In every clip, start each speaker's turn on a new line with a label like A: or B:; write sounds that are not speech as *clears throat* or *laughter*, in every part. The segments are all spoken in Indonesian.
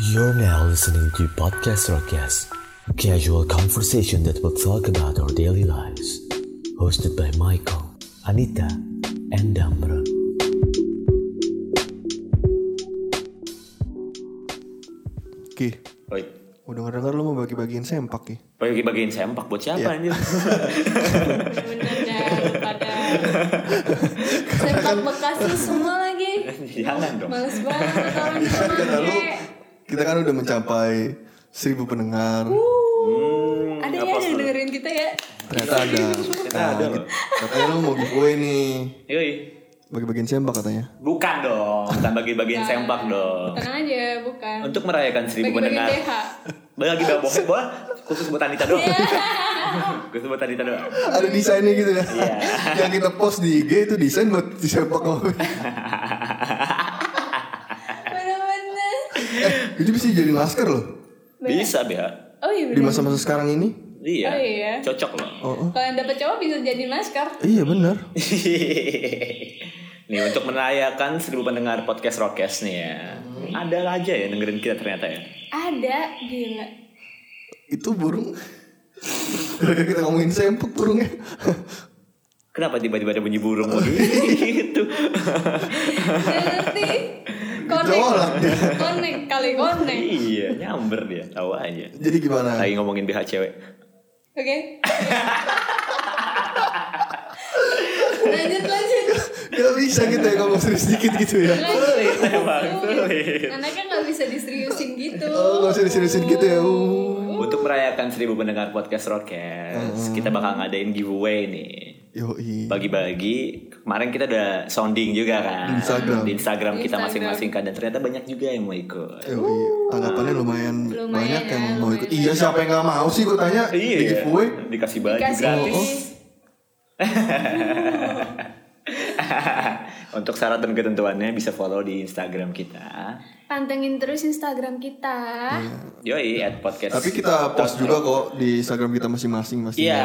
A: You're now listening to Podcast Rockcast, a casual conversation that will talk about our daily lives. Hosted by Michael, Anita, and Damron.
B: Ki,
C: Oi.
B: gue denger-denger lu mau bagi-bagiin sempak *laughs* Ki
C: Bagi-bagiin sempak buat siapa
B: Iya.
C: anjir?
D: Bener dah pada sempak bekas tuh semua lagi.
C: Jangan dong.
D: Males banget orang
B: Kan kata lu,
D: pakai.
B: kita kan udah mencapai seribu pendengar
C: Hmm,
D: Ada ya
C: ngepost
D: yang
C: dulu.
D: dengerin kita ya.
B: Ternyata ada Nah, gitu.
C: Ternyata ada loh.
B: Katanya lu mau giveaway nih
C: Yoi.
B: Bagi-bagiin sempak katanya
C: Bukan dong, bukan bagi-bagiin
D: Bukan.
C: sempak dong.
D: Tenang aja bukan. *laughs*
C: Untuk merayakan seribu
D: Bagi-bagiin
C: pendengar.
D: DH.
C: Bagi bawa
D: *laughs*
C: bohep bola khusus buat Anita doang.
D: Iya.
C: *laughs* khusus buat Anita doang.
B: Ada desainnya gitu ya
C: Iya.
B: *laughs* Yang kita post di IG itu desain buat di sempak
D: Bener-bener.
B: Eh, Itu bisa jadi masker loh
C: Bisa Bea.
D: Oh iya
B: Di
D: bener.
B: masa-masa sekarang ini
C: Iya.
D: Oh, iya.
C: Cocok loh. *laughs*
D: Kalau yang dapet cowok bisa jadi masker.
B: Iya bener
C: nih untuk merayakan seribu pendengar podcast Rockcast nih ya.
D: Hmm.
C: Ada aja ya dengerin kita ternyata ya.
D: Ada gila.
B: Itu burung *laughs* Kita ngomongin sempak burungnya *laughs*
C: Kenapa tiba-tiba ada bunyi burung *laughs* gitu?
D: Gak ngerti.
B: Ditolak dia.
D: Connect. Connect kali connect.
C: iya, nyamber dia, tahu aja.
B: Jadi gimana?
C: Lagi ngomongin BH cewek.
D: Oke.
C: *laughs*
D: Lanjut lanjut.
B: Gak bisa kita ya ngomong serius dikit gitu ya
D: Sulit
C: emang, sulit.
D: Anaknya gak kan bisa diseriusin gitu
B: Oh, nggak bisa diseriusin gitu ya, uh.
C: Untuk merayakan 1000 pendengar podcast
B: Hmm.
C: Rockcast, kita bakal ngadain giveaway nih.
B: Yoi
C: Bagi-bagi, kemarin kita udah sounding juga kan.
B: Di Instagram.
C: Di Instagram kita
D: Instagram.
C: masing-masing kan. Dan ternyata banyak juga yang mau ikut.
B: Yoi, tanggapannya lumayan,
D: Lumayan
B: banyak
D: ya,
B: yang mau
D: lumayan
B: ikut. Iya, siapa yang gak mau sih gue tanya? Di
C: Iya,
B: giveaway.
C: dikasih baju
D: Dikasih.
C: gratis.
D: Oh.
C: *laughs* Untuk syarat dan ketentuannya bisa follow di Instagram kita.
D: Pantengin terus Instagram kita
C: Yoi, at podcast.
B: Tapi kita post juga kok di Instagram kita masing-masing
C: Iya,
B: pastinya.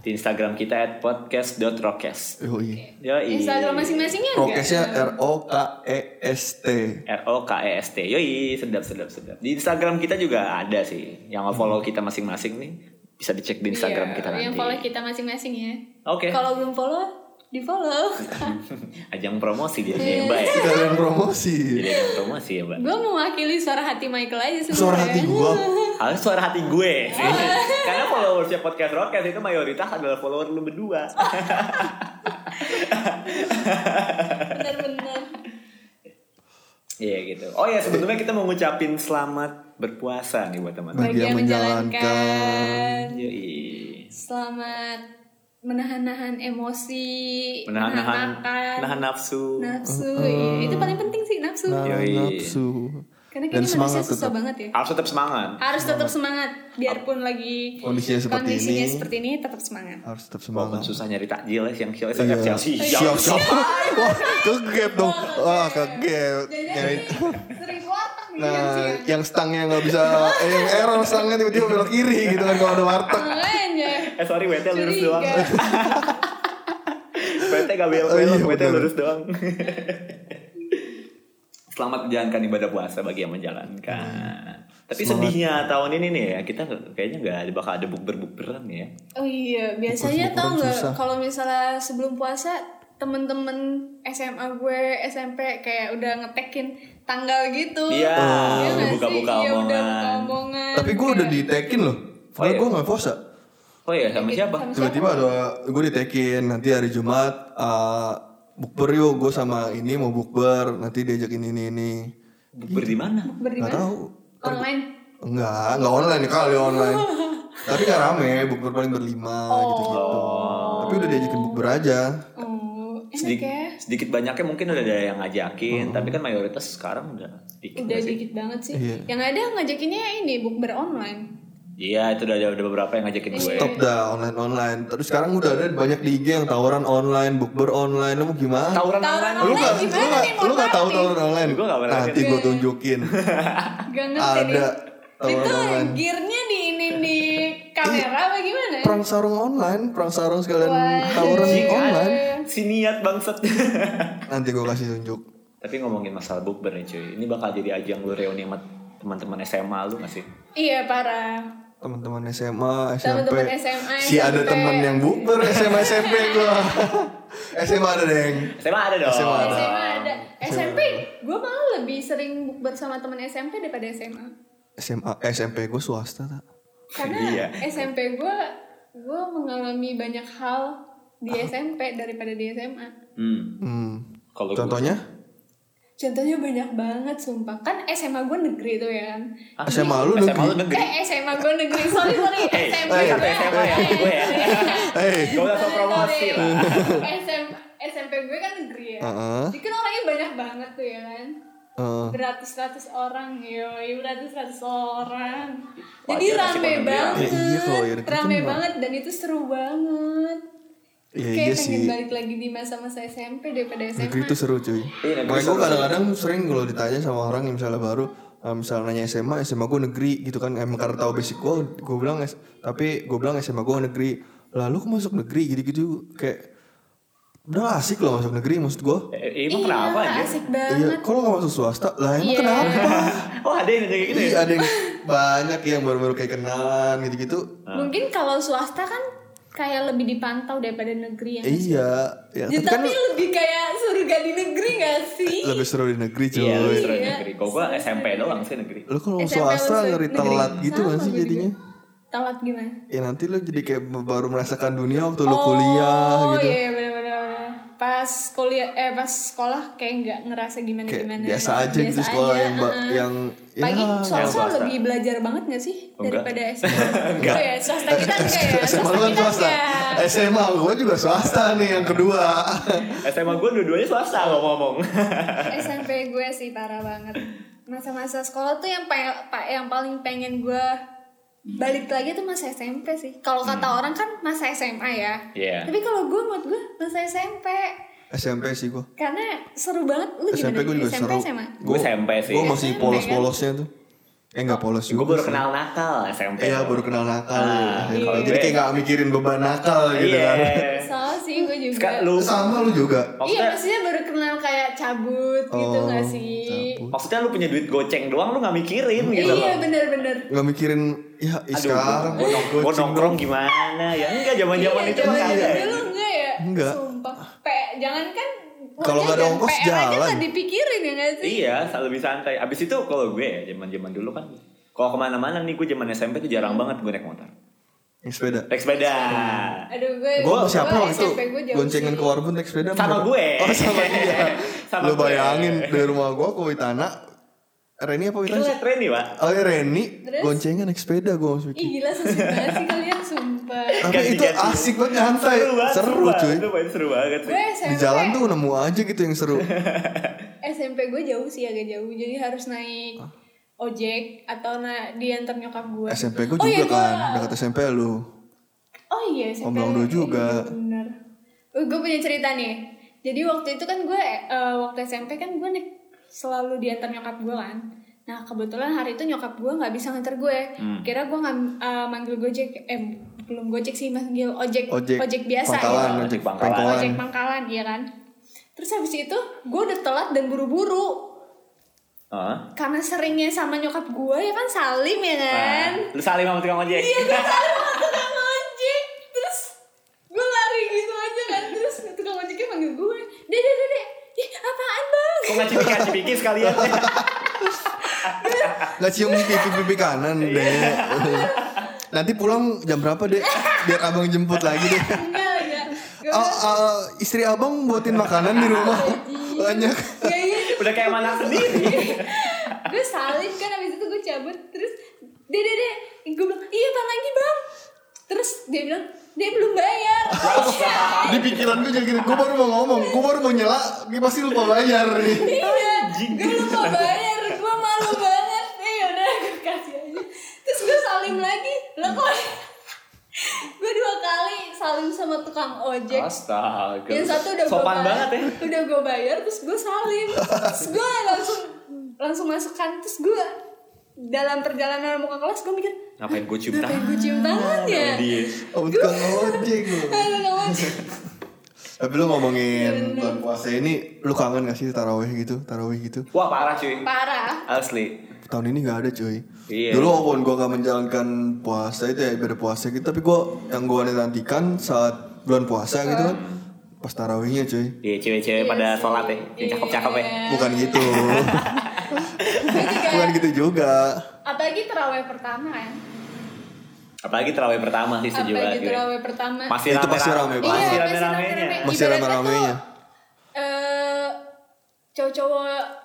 C: di Instagram kita at podcast.rockcast.
B: Yoi.
C: Iya. Yoi.
D: Instagram masing-masingnya
B: Prokesnya
D: enggak? Iya,
B: R O K E S T.
C: R O K E S T. Yoi, sedap sedap sedap. Di Instagram kita juga ada sih yang follow kita masing-masing nih. Bisa dicek di Instagram
D: Hmm. Iya,
C: kita nanti.
D: Yang follow kita masing-masing ya
C: Oke.
D: Kalau belum follow di follow
C: *laughs* Ajang promosi jadi Mbak
D: Iya.
C: ya.
B: Kalian promosi.
C: Jadi ajang promosi ya, Mbak.
D: Gue mewakili suara hati Michael aja sebenarnya.
B: Suara hati
D: *laughs*
B: gua.
D: Iya.
C: Harus suara hati gue sih. Karena followersnya podcast Rockcast itu mayoritas adalah follower lu
D: *laughs*
C: berdua.
D: Bener-bener
C: Iya gitu. Oh ya sebelumnya kita mau ngucapin selamat berpuasa nih buat teman-teman.
B: Bagi yang menjalankan.
C: Yoi.
D: Selamat menahan-nahan emosi
C: menahan-nahan
D: makan,
C: nahan nafsu
D: nafsu iya. Itu paling penting sih nafsu
B: Nah,
C: Yoi.
B: nafsu.
D: Karena
B: Dan
D: kayaknya
B: semangat
D: manusia susah
B: tetap.
D: banget ya
C: harus tetap semangat
D: harus tetap semangat biarpun lagi
B: Kondisinya seperti
D: kondisinya
B: ini.
D: seperti ini tetap semangat
B: Harus tetap
C: walaupun
B: semangat.
C: susah nyari takjil ya siang siang
B: Iya.
C: siang siang siang
B: Siap, siap. *laughs*
D: Iya.
B: Wah, kaget dong. Wah, kaget. Nyari-
D: sering watak nih ya?
B: Nah, yang stangnya nggak bisa, eh, yang error stangnya tiba-tiba belok kiri gitu kan kalau ada warteg. ya,
D: makanya
C: eh sorry WT lurus
D: ya. Curiga.
C: doang *laughs* WT gak belok
B: Oh, iya,
C: belok WT
B: bener.
C: lurus doang *laughs* selamat menjalankan ibadah puasa bagi yang menjalankan tapi sedihnya tahun ini nih ya kita nggak- kayaknya nggak ada bakal ada bukber bukberan ya
D: oh iya biasanya
B: Bukan-
D: tau
B: bukan susah.
D: nggak kalau misalnya sebelum puasa temen-temen SMA gue SMP kayak udah ngetekin tanggal gitu
C: Iya,
D: Iya
C: udah
D: nggak sih?
C: buka-buka
D: Iya, udah
C: omongan.
D: buka omongan
B: Tapi gue udah
D: Kayak-
B: ditekin loh. Padahal
C: iya.
B: gue nggak puasa.
C: oh ya sama siapa
D: Sama
B: Tiba-tiba ada gue ditekin nanti hari Jumat eh bukber yuk gue sama ini mau bukber nanti diajakin ini ini.
C: bukber di mana
D: siapa? Berdiri
B: Nggak
D: mana?
B: tahu.
D: online
B: Enggak, enggak online kali online. Tapi gak rame, bukber paling berlima gitu-gitu. Tapi udah diajakin bukber aja.
D: oh enak
C: sedikit,
D: ya Oh.
C: sedikit banyaknya mungkin udah ada yang ngajakin tapi kan mayoritas sekarang udah dikit
D: Udah
C: gak sih?
D: dikit banget sih.
B: Iya.
D: Yang ada ngajakinnya ini bukber online.
C: Iya, itu udah ada udah beberapa yang
D: Iya.
C: ngajakin gue.
B: Stop dah online online. Terus sekarang udah ada banyak di IG yang tawuran online, bukber online, lu mau gimana?
C: Tawuran
D: Tawuran
C: online.
B: lu nggak lu
D: online gimana
B: nggak
D: nih, mohon
B: lu nggak
D: maaf
B: tahu
D: nih.
B: tawuran online?
C: Gua nggak pernah
B: Nanti gue tunjukin.
D: Gak ngerti Gitu.
B: Ada
D: nih.
B: tawuran
D: Itu
B: online.
D: gearnya di ini di kamera apa gimana? ya?
B: perang sarung online, perang sarung sekalian
D: Waduh.
B: tawuran
D: Iya.
C: Jijik,
B: online.
C: ada. Si niat bangsat. *laughs*
B: Nanti gue kasih tunjuk.
C: Tapi ngomongin masalah bukber nih cuy. Ini bakal jadi ajang lu reuni sama teman-teman SMA lu gak sih?
D: Iya parah.
B: teman-teman SMA SMP
D: Teman-teman SMA,
B: si ada
D: SMP.
B: teman yang bukber SMA SMP
D: *laughs*
B: gua SMA ada deng
C: SMA ada dong.
B: SMA ada.
D: SMA ada. SMP, gue malah lebih sering bukber sama temen SMP daripada SMA.
B: SMA SMP gua swasta tak
D: Karena
C: Iya.
D: SMP gue, gue mengalami banyak hal
B: Ah.
D: di SMP daripada di SMA.
C: Hmm.
B: hmm.
C: Kalau gua-
B: contohnya
D: Contohnya banyak banget sumpah. Kan SMA gue negeri tuh ya.
C: Ah,
B: SMA lu
C: SMA lu
B: negeri
C: negeri.
D: Eh SMA gue negeri, sorry sorry.
C: Hey,
D: SMP
C: ini
B: eh,
C: satu SMA ya gue ya.
B: eh Iya.
C: Gak usah sok promosi lah.
D: SMP, SMP gue kan negeri ya.
B: Heeh.
D: Jadi kan orangnya banyak banget tuh ya kan.
B: eh,
D: beratus-ratus orang yoi beratus-ratus orang jadi
C: Wajar sih kalau
D: rame banget
B: bilang. Iya, kalau ya, itu
D: rame
B: kan
D: banget dan itu seru banget
B: Iya,
D: kayak
B: iya
D: pengen
B: sih.
D: balik lagi di masa-masa SMP daripada SMA
B: negeri itu seru cuy
C: Iya, negeri
B: makanya
C: seru.
B: gua kadang-kadang sering kalau ditanya sama orang yang misalnya baru eh, misalnya nanya SMA SMA gua negeri gitu kan emang karena tahu basic gua gua bilang "Es- tapi gua bilang SMA gua negeri lalu kok masuk negeri gitu-gitu kayak udah asik loh masuk negeri maksud gua
C: Eh, Emang kenapa
D: iya,
C: aja?
D: asik banget
B: Iya, kalau nggak masuk swasta, lah emang
D: Iya. *laughs*
B: kenapa?
C: Oh ada yang kayak gitu ya?
B: Iya, ada yang banyak yang baru-baru kayak kenalan gitu-gitu.
C: Ah.
D: mungkin kalau swasta kan kayak lebih dipantau daripada negeri yang
B: Iya, ya,
D: Ya,
B: tapi kan
D: tapi lebih kayak surga di negeri gak sih
B: lebih seru di negeri cuy.
C: Iya, lu seru
D: Iya.
C: negeri. Kok gue SMP doang sih negeri.
B: Lu kalau
D: SMP
B: swasta
D: lu
B: ngeri
D: negeri.
B: telat gitu
D: Sama
B: kan sih
D: gua juga.
B: jadinya?
D: telat gimana
B: Ya nanti lu jadi kayak baru merasakan dunia waktu lu kuliah
D: oh
B: *laughs* gitu.
D: iya benar-benar pas kuliah eh pas sekolah kayak nggak ngerasa gimana
B: Kayak
D: gimana
B: biasa aja gitu sekolah yang ba- yang ya,
D: eh, Pagi swasta
C: swasta.
D: lebih belajar banget gak sih
C: Enggak.
D: daripada SMA? enggak. ya, swasta kita
B: *laughs*
D: enggak ya.
B: SMA lu kan
D: kita
B: swasta.
D: enggak.
B: SMA gua juga swasta nih yang kedua. *laughs*
C: SMA gue dua-duanya swasta ngomong-ngomong.
D: SMP gue sih parah banget. Masa-masa sekolah tuh yang pa- pa- yang paling pengen gue balik lagi tuh masa SMP sih. Kalau kata orang kan masa SMA ya.
C: Hmm. Iya.
D: Tapi kalau gue menurut gue masa SMP
B: SMP sih gua.
D: karena seru banget lu gimana
B: SMP gue juga
D: SMP
B: seru.
D: SMA?
C: Gua SMP sih.
B: Gue masih
D: SMP,
B: polos-polosnya
D: kan?
B: tuh. Eh nggak polos juga.
C: Gue baru
B: sih.
C: kenal nakal SMP.
B: Iya baru kenal nakal.
C: Ah,
B: ya.
C: iya.
B: Jadi kayak nggak mikirin beban nakal gitu
C: Iya.
B: kan.
D: Soal sih gue juga.
C: Kak lu
B: Sama lu juga.
D: Iya
C: maksudnya
D: maksudnya baru kenal kayak cabut gitu
B: Oh,
D: gak sih?
B: cabut.
C: maksudnya lu punya duit goceng doang lu nggak mikirin gitu
D: Iya
C: loh.
D: bener-bener
B: Nggak mikirin ya ih,
C: Aduh,
B: sekarang
C: gua nong- gua
B: goceng
C: nongkrong gimana ya enggak zaman-zaman
D: Iya,
C: itu enggak
D: zaman-zaman
C: ada.
D: Dulu enggak ya?
B: Enggak.
D: Sumpah Pe- Jangan kan
B: Kalau nggak ada ongkos,
D: aja
B: jalan.
D: gak kan dipikirin ya gak sih?
C: Iya, sa- lebih santai. Abis itu kalau gue ya zaman-zaman dulu kan kalau kemana-mana nih gue zaman SMP tuh jarang banget gue naik motor.
B: dong. Naik sepeda.
C: Naik sepeda.
D: Aduh gue
B: Gue siapa
D: gue
B: waktu
D: SMP gue jauh
B: goncengan
D: sih.
B: ke Warbun naik sepeda
C: Sama gue.
B: Oh sama dia.
C: *laughs* Sama
B: Lu
C: gue.
B: bayangin dari rumah gue ke Witana. Reni apa Witana?
C: Kita
B: sih?
C: lihat tren nih, Pak.
B: Oh ya Reni
D: Terus?
B: goncengan naik sepeda gue maksudnya.
D: Ih gila sesuai banget sih kalian sumpah
B: Tapi
C: Ganti-ganti.
B: itu asik banget santai. Seru
C: banget.
B: cuy.
C: Itu paling seru banget sih.
D: Gue
B: Di
D: SMP
B: jalan tuh nemu aja gitu yang
D: *laughs*
B: seru.
D: SMP gue jauh sih agak jauh Jadi harus naik ojek Atau na diantar nyokap gue
B: SMP gue
D: Oh, iya,
B: juga
D: gua-
B: kan dekat SMP lu.
D: Oh iya, SMP.
B: Om Langdo juga.
D: Iya, Bener. gue punya cerita nih. Jadi waktu itu kan gue eh, waktu SMP kan gue naik selalu diantar nyokap gue kan. Nah kebetulan hari itu nyokap gue nggak bisa nganter gue.
B: Hmm.
D: Kira gue nggak eh, manggil gojek, eh belum gojek sih manggil ojek,
B: Ojek,
D: biasa.
B: pangkalan,
D: ya.
B: ojek
C: Ojek
B: pangkalan.
C: pangkalan.
D: Ojek pangkalan, iya kan. Terus habis itu gue udah telat dan buru-buru
C: Heeh.
D: karena seringnya sama nyokap gue ya kan salim ya kan.
B: Nah.
C: Nah, Lu salim sama tukang ojek.
D: Iya gue salah waktu sama ojek Terus gue lari gitu aja kan Terus tukang ojeknya manggil gue Dede dede Ih apaan bang
C: Kok nggak cipika-cipiki
D: *laughs*
C: sekalian?
B: Nggak cium pipi-pipi
C: *laughs*
B: kanan
C: Iya.
B: deh. Nanti pulang jam berapa deh? Biar abang jemput lagi deh.
D: Enggak enggak
B: Ah, ah, istri abang buatin makanan di rumah
D: Iya.
B: banyak.
D: Gak gitu
C: Udah kayak mana sendiri.
D: Gue salin kan abis itu gue cabut Terus Dede dede Gue bilang iya apaan lagi bang Terus dia bilang dia belum bayar
B: Di pikiran gue jadi gini, gue baru mau ngomong, gue baru mau nyela, dia pasti lupa bayar nih.
D: Iya Gue lupa bayar Gue malu banget Eh yaudah gue kasih aja Terus gue salim lagi Lah kok Gue dua kali salim sama tukang ojek
C: Astaga.
D: Yang satu udah gua
C: sopan
D: bayar,
C: banget ya.
D: Udah gue bayar terus gue salim. terus gue langsung langsung masuk kan terus gue dalam perjalanan mau ke kelas gue mikir
C: Ngapain gue cium
D: ngapain
C: tangan? Iya.
D: *laughs* gue cium tangan ya?
C: Dia.
B: Oh, tukang ojek lu.
D: Aduh, nggak mau.
B: Tapi lu ngomongin bulan puasa ini, lu kangen gak sih taraweh gitu, taraweh gitu?
C: Wah parah cuy.
D: Parah.
C: Asli.
B: Tahun ini gak ada cuy.
C: Iya.
B: Dulu walaupun gue gak menjalankan puasa itu ya ibadah puasa gitu, tapi gue yang gue nantikan saat bulan puasa gitu kan, pas tarawehnya cuy.
C: Iya cewek-cewek pada sholat ya,
D: Iya.
C: yang cakep-cakep ya.
B: Bukan gitu,
D: Gue juga.
B: bukan gitu juga.
D: kan, Apalagi terawih pertama kan.
C: Apalagi terawih pertama sih setuju
D: Apalagi
C: banget gue.
D: terawih gitu, pertama.
C: Masih
B: Itu
C: rame-rame.
B: pasti rame banget.
C: Masih ya.
D: Iya,
C: rame-ramenya.
D: rame-rame.
B: Masih
D: Ibaratnya
B: rame-ramenya.
D: tuh, Eh cowok-cowok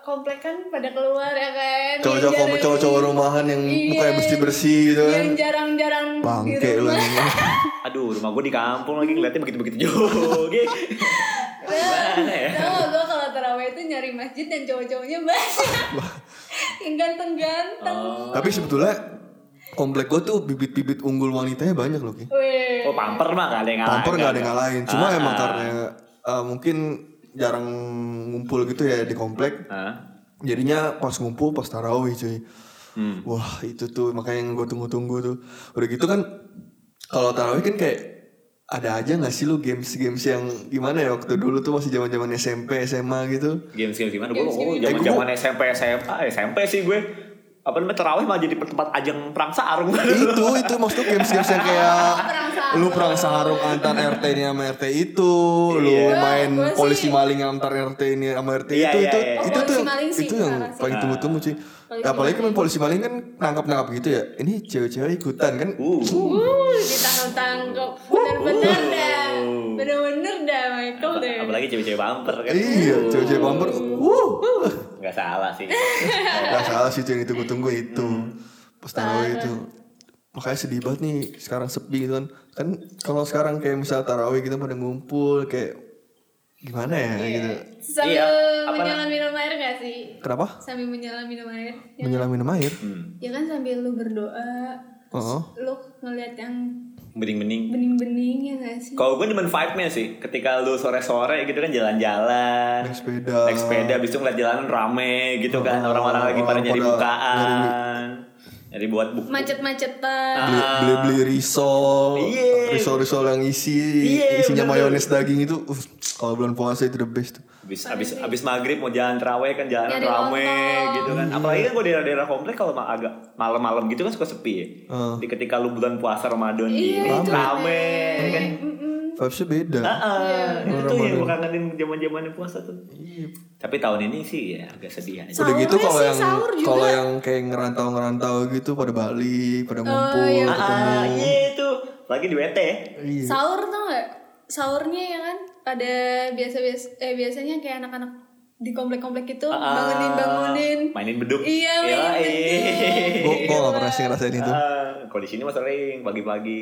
D: komplek kan pada keluar ya kan.
B: Cowok-cowok
D: Yang jarang-
B: cowok-cowok rumahan yang
D: Iya.
B: mukanya bersih-bersih gitu kan.
D: Yang gitu. jarang-jarang di
B: Bangke lu
D: rumah. *laughs*
B: emang.
C: Aduh, rumah gue di kampung lagi ngeliatnya begitu-begitu joge. Gimana ya?
D: Tau gue kalau terawih itu nyari masjid dan cowok-cowoknya banyak Yang ganteng-ganteng
C: Oh.
B: Tapi sebetulnya komplek gue tuh bibit-bibit unggul wanitanya banyak loh Ki.
D: Weh
C: Oh, pamper mah gak ada yang ngalahin.
B: Pamper gak ada yang ngalahin. Cuma
C: Ah,
B: emang
C: ah.
B: karena eh, mungkin jarang ngumpul gitu ya di komplek.
C: Hah?
B: Jadinya pas ngumpul pas tarawih cuy.
C: Hmm.
B: Wah itu tuh makanya yang gue tunggu-tunggu tuh. Udah gitu kan kalau tarawih kan kayak ada aja gak sih lu games-games yang gimana ya waktu dulu tuh masih zaman-zaman SMP SMA gitu.
C: Games games gimana? Gue
D: Games-games.
C: oh, zaman zaman SMP SMA SMP sih gue. Apa namanya terawih malah jadi tempat ajang perang sarung.
B: itu itu maksudnya games games yang kayak
D: Perang sarung.
B: lu perang sarung antar RT ini sama RT itu lu
C: Iya.
B: main
D: Gua sih-
B: polisi maling antar RT ini sama RT
C: Iya,
B: itu
C: iya,
B: itu
C: iya.
B: itu
D: Oh,
B: tuh
D: polisi maling sih,
B: itu yang
D: parah sih.
B: paling tunggu tunggu cuy
D: Polisi
B: apalagi kan
D: maling.
B: polisi maling kan nangkap nangkap gitu ya ini cewek-cewek ikutan kan
C: *laughs* Uh.
D: Uh, ditangkap-tangkap Bener-bener
C: Oh.
D: dah Bener-bener dah Michael deh
C: Apalagi cewek-cewek pamper kan.
B: iya cewek-cewek bumper
C: Uh.
B: wuh
C: Gak salah
D: *laughs*
C: sih.
B: nggak salah sih itu yang ditunggu tunggu itu pas tarawih itu makanya sedih banget nih sekarang sepi gitu kan kan kalau sekarang kayak misal tarawih kita pada ngumpul kayak gimana ya gitu
D: Sambil
C: Iya, apa-
D: menyelam minum air gak sih?
B: kenapa
D: Sambil menyelam minum air ya,
B: menyelam minum air.
C: Hmm.
D: ya kan sambil lu berdoa
B: Oh.
D: Lu ngeliat yang
C: Bening-bening.
D: bening-bening ya gak sih?
C: Kalau gue demen vibe-nya sih, ketika lu sore-sore gitu kan jalan-jalan
B: Naik sepeda.
C: Naik sepeda, abis itu ngeliat jalanan rame gitu kan Orang-orang lagi
B: orang
C: pada nyari
B: pada
C: bukaan Nyari buat buku Ah.
D: Macet-macetan
B: Beli, beli beli risol,
C: Iya.
B: risol risol yang isi
C: Iya,
B: isinya
C: bener.
B: mayones daging itu, uh, kalau bulan puasa itu the best.
C: Abis, abis, abis maghrib mau jalan terawih kan jalanan
D: Nyari
C: rame
D: lontong.
C: gitu
B: Hmm.
C: kan Apalagi kan gue daerah-daerah komplek kalau ma- agak malam-malam gitu kan suka sepi ya
B: Heeh.
C: Jadi ketika lu bulan puasa Ramadan
D: Iya,
C: gini,
D: itu
C: rame
D: rame.
C: kan
D: Mm-mm.
B: Vibesnya beda.
C: Ah. Heeh, itu yang
B: Iya. Ramadan.
C: gue kangenin zaman-zamannya puasa tuh Tapi tahun ini sih ya agak sedih aja
B: Iya. Udah gitu
D: Sahurnya
B: kalau
D: Iya, sih,
B: yang
D: sahur juga.
B: kalau yang kayak ngerantau-ngerantau gitu pada Bali, pada ngumpul,
D: iya,
B: ketemu.
C: Ah, iya itu lagi di WT ya
B: Iya.
D: Sahur tau gak? Sahurnya ya kan pada biasa-biasa eh biasanya kayak anak-anak di komplek-komplek itu
C: Ah,
D: bangunin-bangunin.
C: mainin beduk
D: Iya, mainin
C: iya.
D: beduk.
B: Gue gue gak pernah sih ngerasain itu.
C: Ah, kalau di sini mah sering pagi-pagi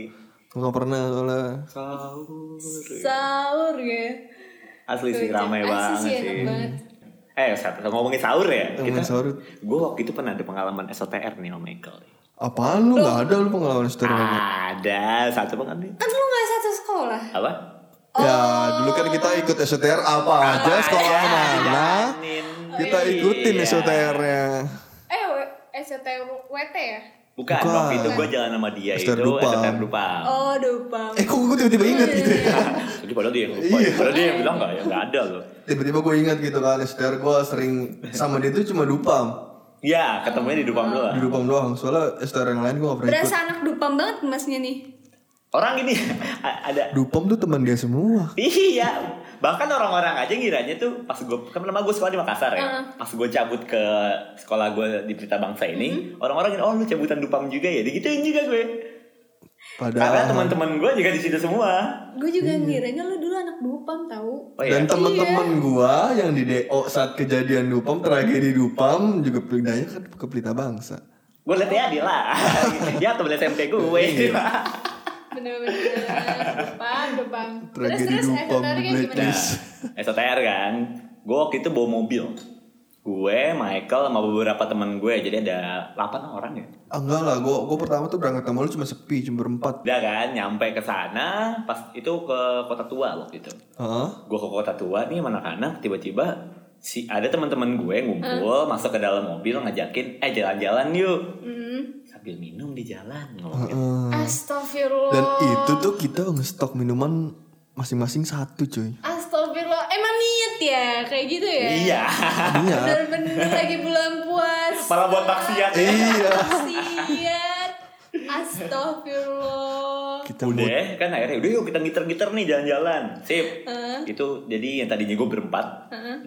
B: Gue gak pernah soalnya.
C: sahur
D: Sahur ya.
C: asli sih
D: Tuh,
C: ramai
D: asli
C: banget
D: sih,
C: sih,
D: enak banget.
C: eh saat- ngomongin sahur ya
B: Ngomongin sahur.
C: gue waktu itu pernah ada pengalaman SOTR nih sama Michael
B: Apaan lu gak ada lu pengalaman
D: Ah.
B: story?
C: ada satu pengalaman
D: Kan lu gak satu sekolah.
C: apa
B: Ya dulu kan kita ikut SOTR apa aja sekolah
C: Ada,
B: mana
C: dijalanin.
B: kita ikutin
C: Iya.
B: SOTR-nya.
D: Eh W- SCTWT ya?
C: bukan,
B: Bukan.
C: waktu itu gue jalan sama dia
B: SOTR
C: itu
B: Dupam.
C: SOTR Dupam *laughs*
D: Oh, dupa.
B: Eh kok gue tiba-tiba inget gitu ya?
C: jadi padahal dia yang lupa ya. padahal dia yang bilang nggak ya nggak ada loh
B: Tiba-tiba gue ingat gitu kan SOTR gue sering sama dia tuh cuma dupam,
C: Ya, ketemunya di Dupam doang.
B: di dupam doang. Soalnya SOTR yang lain gue gak pernah ikut.
D: Berasa anak dupam banget masnya nih.
C: Orang ini *laughs* ada
B: Dupam tuh teman dia semua.
C: Iya, bahkan orang-orang aja ngiranya tuh pas gue kan nama gue sekolah di Makassar ya.
D: Heeh.
C: Pas gue cabut ke sekolah gue di Berita Bangsa ini, orang-orang ngiranya, oh lu cabutan Dupam juga ya, digituin juga gue. Karena
B: Padahal
C: teman-teman gue juga di situ semua.
D: Gue juga
B: Iya.
D: ngiranya lu dulu anak dupam tahu.
C: Oh
B: dan
C: iya.
B: teman-teman gua yang di DO saat kejadian Dupam, tragedi Dupam juga pindahnya kan ke Pelita Bangsa.
C: Gue liat ya dia lah. *laughs* ya temen SMP gue. *laughs*
D: Bener-bener dupam, dupam. Terus
B: Tragedi
D: terus
B: Dupam di
D: SCTR-nya gimana?
B: blacklist.
C: SOTR kan. Gue waktu itu bawa mobil. Gue, Michael, sama beberapa teman gue. Jadi ada 8 orang ya.
B: Ah, enggak lah, gua gua pertama tuh berangkat sama lu cuma sepi, cuma berempat.
C: Udah kan, nyampe ke sana. Pas itu ke Kota Tua waktu itu.
B: Hah?
C: gue ke kota tua nih sama anak-anak tiba-tiba si ada teman-teman gue ngumpul masuk ke dalam mobil ngajakin eh jalan-jalan yuk
D: Hmm.
C: sambil minum di jalan gitu. ngomongin
B: Eh,
D: Astagfirullah.
C: Oh. *laughs*
B: Dan itu tuh kita ngestok minuman masing-masing satu cuy.
D: ya kayak gitu ya
C: Iya. *laughs*
B: Iya.
D: bener-bener lagi bulan puasa
C: Malah buat maksiat ya.
B: Iya.
D: maksiat astagfirullah
B: Kita mau
C: Udah kan akhirnya udah yuk kita ngiter-ngiter nih jalan-jalan. Sip. Itu jadi yang tadinya gue berempat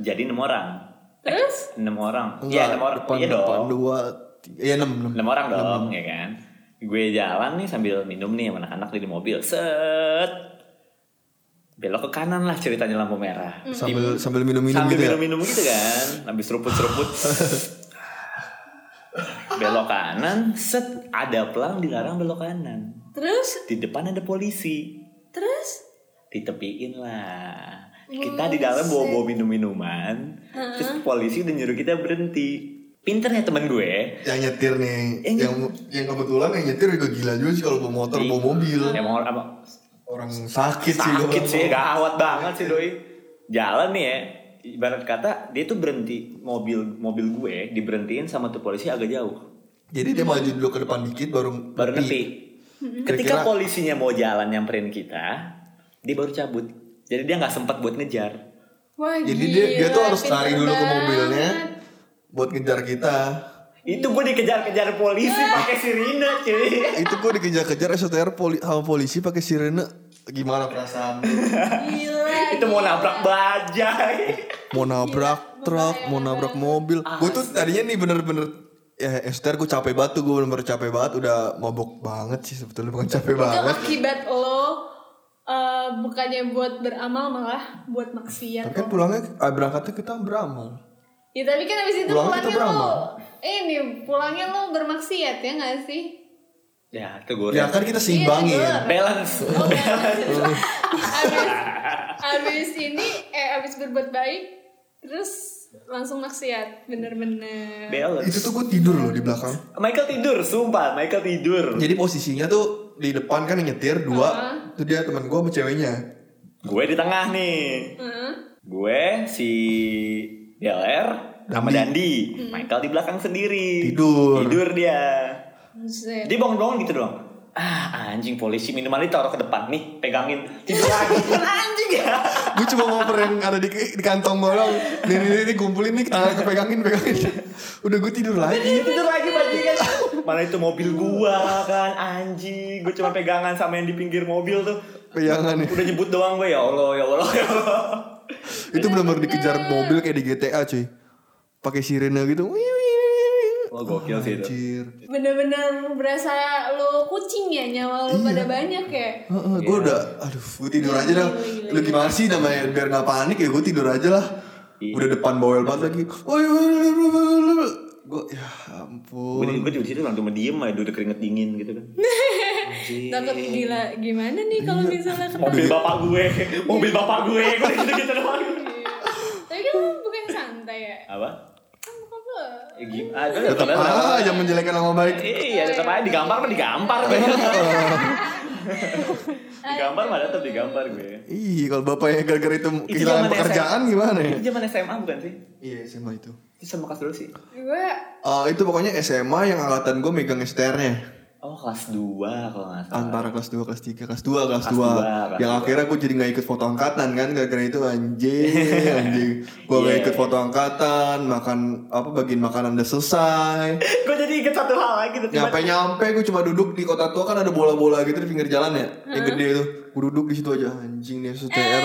C: jadi enam orang.
D: terus
C: Enam orang.
B: enggak
C: Iya enam orang.
B: depan
C: Iya
B: depan
C: dong.
B: dua tiga, ya enam enam.
C: enam orang dong ya kan gue jalan nih sambil minum nih sama anak-anak di mobil set belok ke kanan lah ceritanya lampu merah
B: Sambil sambil minum-minum
C: sambil
B: Hmm. gitu ya.
C: minum-minum gitu kan habis seruput-seruput belok kanan set ada pelang dilarang belok kanan
D: terus
C: di depan ada polisi
D: terus
C: ditepiin lah kita di dalam bawa bawa minum minuman terus polisi udah nyuruh kita berhenti pinternya temen gue
B: Yang nyetir nih,
C: Yang-
B: yang yang kebetulan yang nyetir juga gila juga sih kalau bawa motor, bawa mobil.
C: emang orang-
B: Orang sakit, sih gua
C: Iya. Nah, sakit sih
B: bilang.
C: gawat banget sih doi jalan nih ya ibarat kata dia tuh berhenti mobil mobil gue diberhentiin sama tuh polisi agak jauh
B: Jadi dia maju dulu ke depan dikit baru
C: baru
B: berhenti.
C: ngerti ketika
B: Kira-kira-
C: polisinya mau jalan nyamperin kita dia baru cabut jadi dia nggak sempat buat ngejar
D: wah
B: Jadi dia dia
D: gila,
B: tuh harus
D: Iya, pinter
B: lari dulu ke
D: banget.
B: mobilnya buat ngejar kita.
C: itu gue dikejar-kejar polisi pakai sirine cuy
B: *laughs* Itu gue dikejar-kejar SOTR poli, sama polisi pakai sirene. Gimana perasaan? lu?
D: gila
C: itu mau nabrak bajai
B: mau nabrak truk, mau nabrak mobil. Gue tuh tadinya nih bener-bener ya SOTR gue capek banget tuh gue bener-bener capek banget udah mabok banget sih sebetulnya bukan capek
D: itu
B: banget.
D: akibat lo eh, bukannya buat beramal malah buat maksiat
B: Tapi kan pulangnya ah, berangkatnya kita beramal.
D: Ya tapi kan abis itu
B: Pulangnya
D: pulangnya,
B: tuh
D: lo
B: beramal.
D: Ini pulangnya lo bermaksiat ya gak sih?
C: ya itu gue
B: Ya kan kita seimbangin.
D: Iya,
C: balance
D: abis, abis ini Eh abis berbuat baik Terus langsung maksiat Bener-bener
B: Itu
C: balance
B: tuh gue tidur loh di belakang.
C: Michael tidur sumpah Michael tidur
B: Jadi posisinya tuh di depan kan yang nyetir dua, itu dia teman gue sama ceweknya.
C: gue di tengah nih
D: Heeh.
C: Gue si DLR sama Dandi. Michael di belakang sendiri.
B: Tidur.
C: Tidur dia.
D: Buset.
C: Dia bangun-bangun gitu dong. Ah anjing polisi minuman ditaruh ke depan nih pegangin tidur lagi Kan anjing ya
B: Gue cuma ngoper yang ada di, di kantong gue doang. Nih nih nih, nih kumpulin nih, tangan gue pegangin pegangin. Udah gue tidur lagi.
C: tidur lagi bajingan mana itu mobil gua kan anjing gue cuma pegangan sama yang di pinggir mobil tuh
B: Pegangan nih.
C: udah nyebut doang gue ya allah ya allah ya allah
B: Itu benar-benar dikejar mobil kayak di GTA cuy. Pakai sirene gitu. Wih, wih, wih.
C: Wah, Oh, gokil Iya sih itu.
B: Anjir.
D: Bener-bener berasa lo kucing ya Nyawa lo
B: Iya.
D: pada banyak ya
B: gue
C: Iya.
B: udah, aduh, gue tidur aja dah. Lu gimana sih namanya biar nggak panik ya gue tidur aja lah.
C: Iya.
B: Udah depan bawel banget lagi. Woi, gue ya ampun.
C: gue gue di situ langsung diem aja udah keringet dingin gitu kan
D: Takut gila gimana nih kalau
B: Iya.
D: misalnya ketemu
C: mobil bapak gue mobil bapak gue gue gitu gitu doang
D: Tapi kan lo bukan santai ya
C: apa
D: Kan bukan lo
C: Ya, gim- ah, gue
B: Tetap
C: tetap aja.
B: aja menjelekkan nama baik.
C: Iya, tetap aja digampar mah digampar gue.
B: *laughs*
C: digampar mah tetap digampar gue.
B: Ih, kalau bapaknya gara-gara itu
C: Itu
B: kehilangan
C: zaman
B: pekerjaan
C: SMA.
B: gimana ya?
C: Itu zaman SMA bukan sih?
B: Iya, SMA itu.
C: Itu sama kelas dulu sih.
D: Gue
B: Eh, itu pokoknya SMA yang angkatan gue megang STR-nya
C: Oh, kelas 2 kalau nggak *laughs* salah.
B: antara kelas 2 kelas 3 kelas 2 kelas 2
C: Kelas dua, kelas
B: yang akhirnya gue jadi nggak ikut foto angkatan kan gara-gara itu anjing anjing gue nggak
C: Iya.
B: ikut foto angkatan makan apa bagian makanan udah selesai
C: gue jadi inget satu hal lagi tuh. tiba-
B: nyampe nyampe gue cuma duduk di kota tua kan ada bola-bola gitu di pinggir jalan ya yang gede tuh gue duduk di situ aja anjing nih STR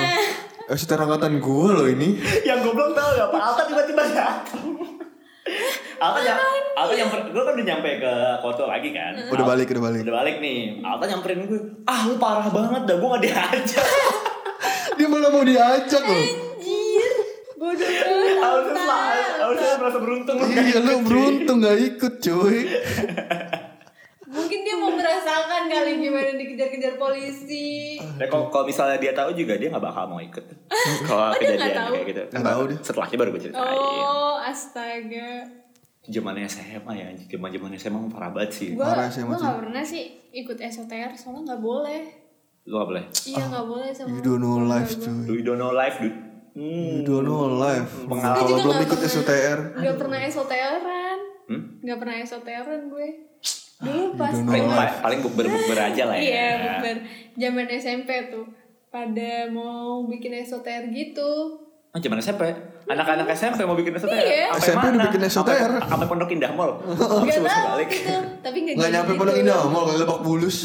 B: STR angkatan gue loh ini
C: Yang goblok tau gak Pak Alta tiba-tiba
B: *laughs*
C: datang. Alta nyam, Alta nyamper, gue kan udah nyampe ke kota lagi kan.
B: udah balik udah balik
C: Udah balik nih, Alta nyamperin gue. Ah, lu parah banget dah, gue gak diajak. *laughs*
B: dia malah mau diajak loh
D: Anjir Bodoh banget
C: Alta selalu, Alta merasa beruntung.
B: Iya lu beruntung gak ikut cuy
D: Mungkin dia mau merasakan kali gimana dikejar-kejar polisi.
C: Ya, kalau, kalau misalnya dia tahu juga dia nggak bakal mau
D: *laughs*
C: ikut. Kalau
D: Oh, dia nggak
C: kejadian
D: tahu?
C: kayak gitu.
B: Nggak tahu dia.
C: Setelahnya baru gue
B: Ah,
C: ceritain.
B: iya.
D: Oh, astaga.
C: Zaman SMA ya, zaman zaman SMA emang parah banget sih.
D: Gue
B: Parah sih emang
D: gua gak pernah sih ikut SOTR soalnya gak boleh.
C: Lu nggak boleh.
D: Iya gak boleh sama.
B: Ah, You don't know
D: keluarga
B: life
D: gua.
B: cuy
C: Lu you don't know life, dude.
B: You
C: Hmm.
B: don't know life Kalau Nah,
C: Pengalaman.
D: Gua juga
B: belum
D: nggak
B: ikut
D: pernah.
B: SOTR
D: Gak pernah SOTR-an.
C: Hmm?
D: Gak pernah SOTR-an gue. Dulu pas
B: Ah, don't know
C: Paling,
D: gua-
C: pa- paling bukber-bukber aja lah ya.
D: Iya, bukber. Zaman SMP tuh pada mau bikin SOTR gitu.
C: Ah, zaman SMP. Anak-anak SMP mau bikin SOTR. ya?
D: Iya.
C: Sampai
B: SMP udah
C: mana?
B: bikin
C: Sampai-
B: SOTR.
C: Sampai Pondok Indah Mall.
D: *laughs* Gak
C: Langsung
D: tahu
C: balik.
D: gitu. Tapi gak,
B: Nggak nyampe Pondok Indah Mall kayak Lebak Bulus.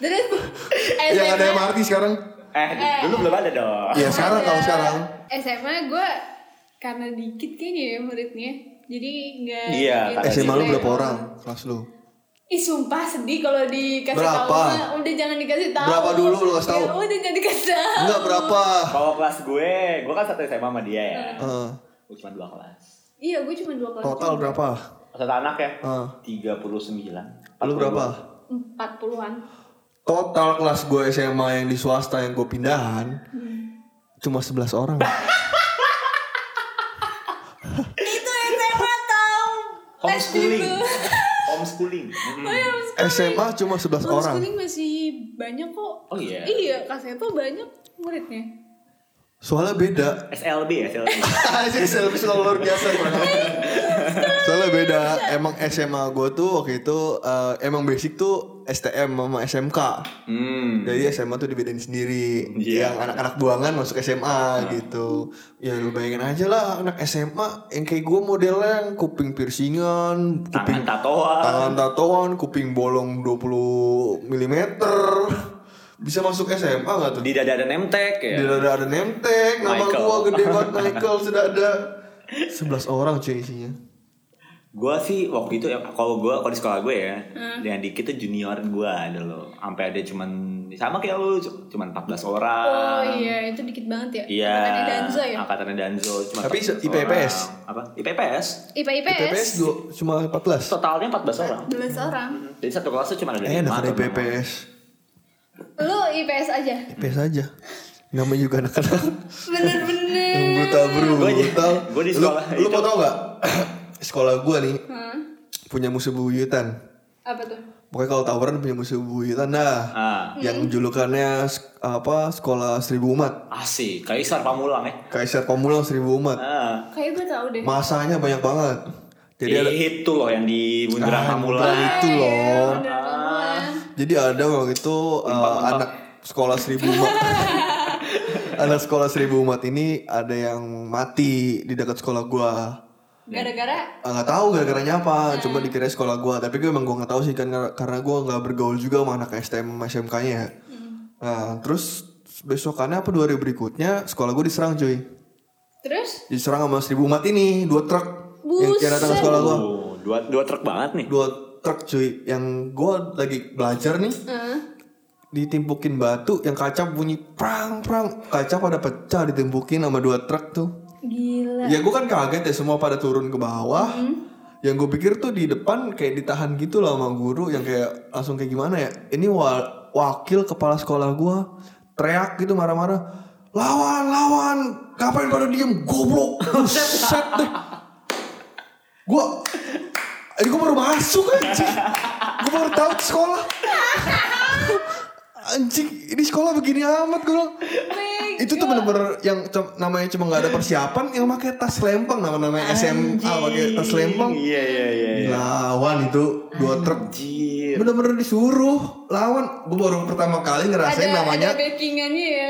D: Terus
B: *laughs* Yang ada
D: Eh, SMA
B: MRT sekarang.
C: Eh, dulu belum ada dong.
B: Ya
D: Iya.
B: sekarang kalau sekarang.
D: SMA gue karena dikit kayaknya ya muridnya. Jadi nggak
C: Iya,
D: nggak
C: karena
B: SMA lu
D: dikit.
B: berapa orang kelas lu?
D: Ih sumpah sedih kalau dikasih
B: Berapa?
D: tahu. mah. Udah jangan dikasih tahu.
B: Berapa dulu lu kasih tahu?
D: Ya udah jangan dikasih tahu.
B: Enggak berapa.
C: Kalau kelas gue, gue kan satu SMA sama dia ya.
B: Eh,
C: Gue cuma dua kelas.
D: Iya, gue cuma dua kelas.
B: total berapa?
C: Satu anak ya,
B: Eh,
C: 39.
B: lu
C: 42.
B: berapa?
D: Empat puluhan.
B: *laughs* Total kelas gue SMA yang di swasta yang gue pindahan cuma 11 orang.
D: Itu SMA tau.
C: Homeschooling. *laughs*
D: *laughs*
C: Homeschooling. Mm.
D: Hmm.
B: SMA cuma 11 orang.
D: Homeschooling masih banyak kok.
C: Oh iya.
D: Iya, kelasnya tuh banyak muridnya.
B: Soalnya beda. *laughs*
C: SLB ya, SLB.
B: Anjing selfie selalu luar biasa bro. Soalnya beda Emang SMA gue tuh waktu itu eh, Emang basic tuh STM sama SMK
C: Hmm.
B: Jadi SMA tuh dibedain sendiri
C: Iya. Nah.
B: Yang anak-anak buangan masuk SMA gitu Ya lu bayangin aja lah Anak SMA yang kayak gue modelnya yang Kuping piercingan
C: Tangan
B: Kuping
C: tatoan.
B: tangan tatoan Kuping bolong 20 mm Bisa masuk SMA gak tuh?
C: Di dada ada nemtek ya.
B: Di dada ada nemtek, nama
C: Michael.
B: gua gede
C: *laughs*
B: banget Michael sudah ada 11 orang cuy isinya.
C: Gue sih waktu itu ya, kalau gue kalau di sekolah gue ya,
D: Hmm.
C: yang dikit tuh junior gue dulu. Sampai ada cuman sama kayak lu, cu- cuman 14 orang.
D: Oh iya, itu dikit
C: Ah.
D: banget ya.
C: Iya.
D: Angkatannya Danza ya.
C: Angkatannya Danzo. Cuman
B: Tapi
C: 14
B: IPPS.
C: orang. Apa? IPPS.
D: IPA
B: IPPS
D: IPS.
B: dua- cuma 14.
C: Totalnya 14 orang.
D: 12 orang.
C: Jadi satu kelas tuh cuma ada
B: Eh, anak
C: lima
B: ada
C: atau enam orang.
B: IPPS.
D: Lu IPS aja.
B: IPS aja. Namanya juga anak-anak
D: Bener-bener.
B: yang brutal bro,
C: Gua aja-
B: brutal.
C: gua di
B: Lu,
C: sekolah
B: lu
C: itu-
B: mau tau gak? *clears throat* sekolah gua nih
D: Hah?
B: punya musuh bubuyutan.
D: Apa tuh?
B: Pokoknya kalau tawuran punya musuh bubuyutan dah.
C: Ah,
B: Yang julukannya sk- apa sekolah seribu umat.
C: asik. Kaisar Pamulang ya.
B: Kaisar Pamulang seribu umat.
C: Ah.
D: Kayak gue tau deh.
B: Masanya banyak banget. Jadi ada
C: itu loh yang di bundaran
B: Ah,
C: Pamulang.
B: bukan
D: Iya,
B: itu loh.
C: Ah.
D: Bener banget.
B: Jadi ada waktu itu uh, anak sekolah seribu
C: *laughs*
B: umat. anak sekolah seribu umat ini ada yang mati di dekat sekolah gua.
D: Gara-gara
B: Ah, nggak tahu gara-garanya apa, cuma dikira sekolah gua. Tapi gue emang gua nggak tahu sih kan kar- karena gua nggak bergaul juga sama anak STM sama SMK-nya. ya. Nah, terus besokannya apa dua hari berikutnya sekolah gua diserang cuy.
D: terus
B: Diserang sama seribu umat ini, dua truk yang, yang datang ke
D: Buset.
B: sekolah gua.
C: Oh, dua dua truk banget nih.
B: Dua truk cuy yang gua lagi belajar nih.
D: eh,
B: ditimpukin batu yang kaca bunyi prang prang kaca pada pecah ditimpukin sama dua truk tuh
D: gila.
B: ya gue kan kaget ya semua pada turun ke bawah yang gue pikir tuh di depan kayak ditahan gitu lah sama guru yang kayak langsung kayak gimana ya ini wa- wakil kepala sekolah gue teriak gitu marah-marah lawan lawan ngapain pada diem goblok set deh gue ini gue baru masuk anjing gue baru tahu ke sekolah anjing ini sekolah begini amat gue bilang Ya, itu tuh
D: Iya.
B: bener-bener yang cum- namanya cuma nggak ada persiapan yang pakai tas lempeng nama-namanya SMA pakai tas lempeng
C: Iya iya iya. iya.
B: lawan itu dua truk
C: Anjir.
B: bener-bener disuruh lawan gue baru pertama kali ngerasain
D: ada,
B: namanya
D: ada backingannya ya.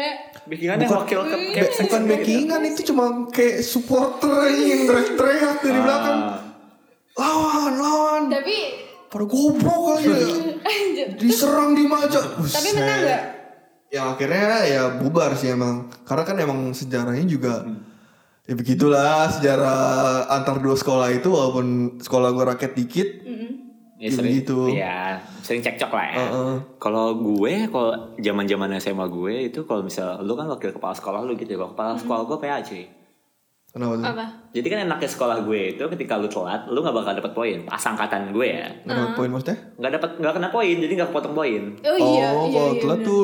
C: Bikinannya
B: Bukan-
C: wakil ke
B: Be- bukan backingan itu cuma kayak supporter aja yang teriak-teriak dari
D: Ah.
B: belakang lawan lawan
D: Tapi *laughs*
B: pada goblok aja
D: anjir.
B: diserang di aja
D: Tapi menang
B: Buset.
D: gak?
B: ya akhirnya ya bubar sih emang karena kan emang sejarahnya juga
C: Hmm.
B: ya begitulah sejarah antar dua sekolah itu walaupun sekolah gue rakyat dikit
C: Ya,
B: Gitu
C: sering,
B: gitu.
C: ya sering cekcok lah ya.
B: Heeh.
C: Kalau gue, kalau zaman zaman SMA gue itu kalau misal lu kan wakil kepala sekolah lu gitu,
B: Hmm.
C: kalau kepala sekolah gue PA cuy.
B: kenapa tuh
D: Apa?
C: Jadi kan enaknya sekolah gue itu ketika lu telat, lu nggak bakal dapet poin. Pas angkatan gue ya,
B: kenapa poin maksudnya
C: nggak dapat nggak kena poin, jadi nggak potong poin.
D: Oh, iya,
B: oh
D: iya,
B: kalau
D: iya,
B: telat
D: bener.
B: tuh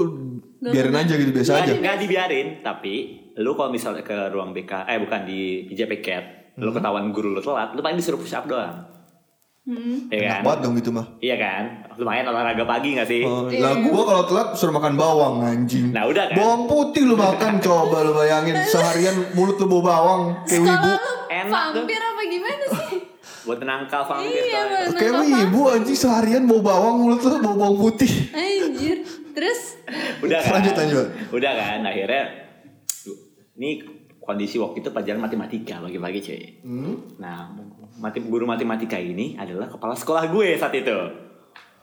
B: biarin aja gitu biasa
C: Nggak
B: aja
D: iya.
C: di- nggak dibiarin, tapi lu kalau misalnya ke ruang BK, eh bukan di PJ Piket,
B: Hmm.
C: lu ketahuan guru lu telat, lu paling disuruh push up doang.
D: Hmm.
B: enak
C: Iya kan?
B: banget dong gitu mah
C: Iya kan? Lumayan olahraga pagi gak sih?
B: Oh, lah
D: Iya.
B: gua kalau telat suruh makan bawang anjing
C: Nah, udah kan?
B: Bawang putih lu makan coba lu bayangin Seharian mulut lu bau bawang Kayak
D: Sekolah
B: wibu
D: lu
C: Enak tuh. *laughs*
D: vampir apa gimana sih?
C: buat nangkal vampir
D: Iya,
C: soalnya.
D: Bang.
B: Kayak lu ibu anjing seharian bau bawang mulut lu bau bawang putih.
D: Anjir. Terus
C: udah kan
B: Lanjut, lanjut.
C: udah kan akhirnya duh, ini kondisi waktu itu pelajaran matematika pagi-pagi cuy
B: Hmm.
C: nah mati, guru matematika ini adalah kepala sekolah gue saat itu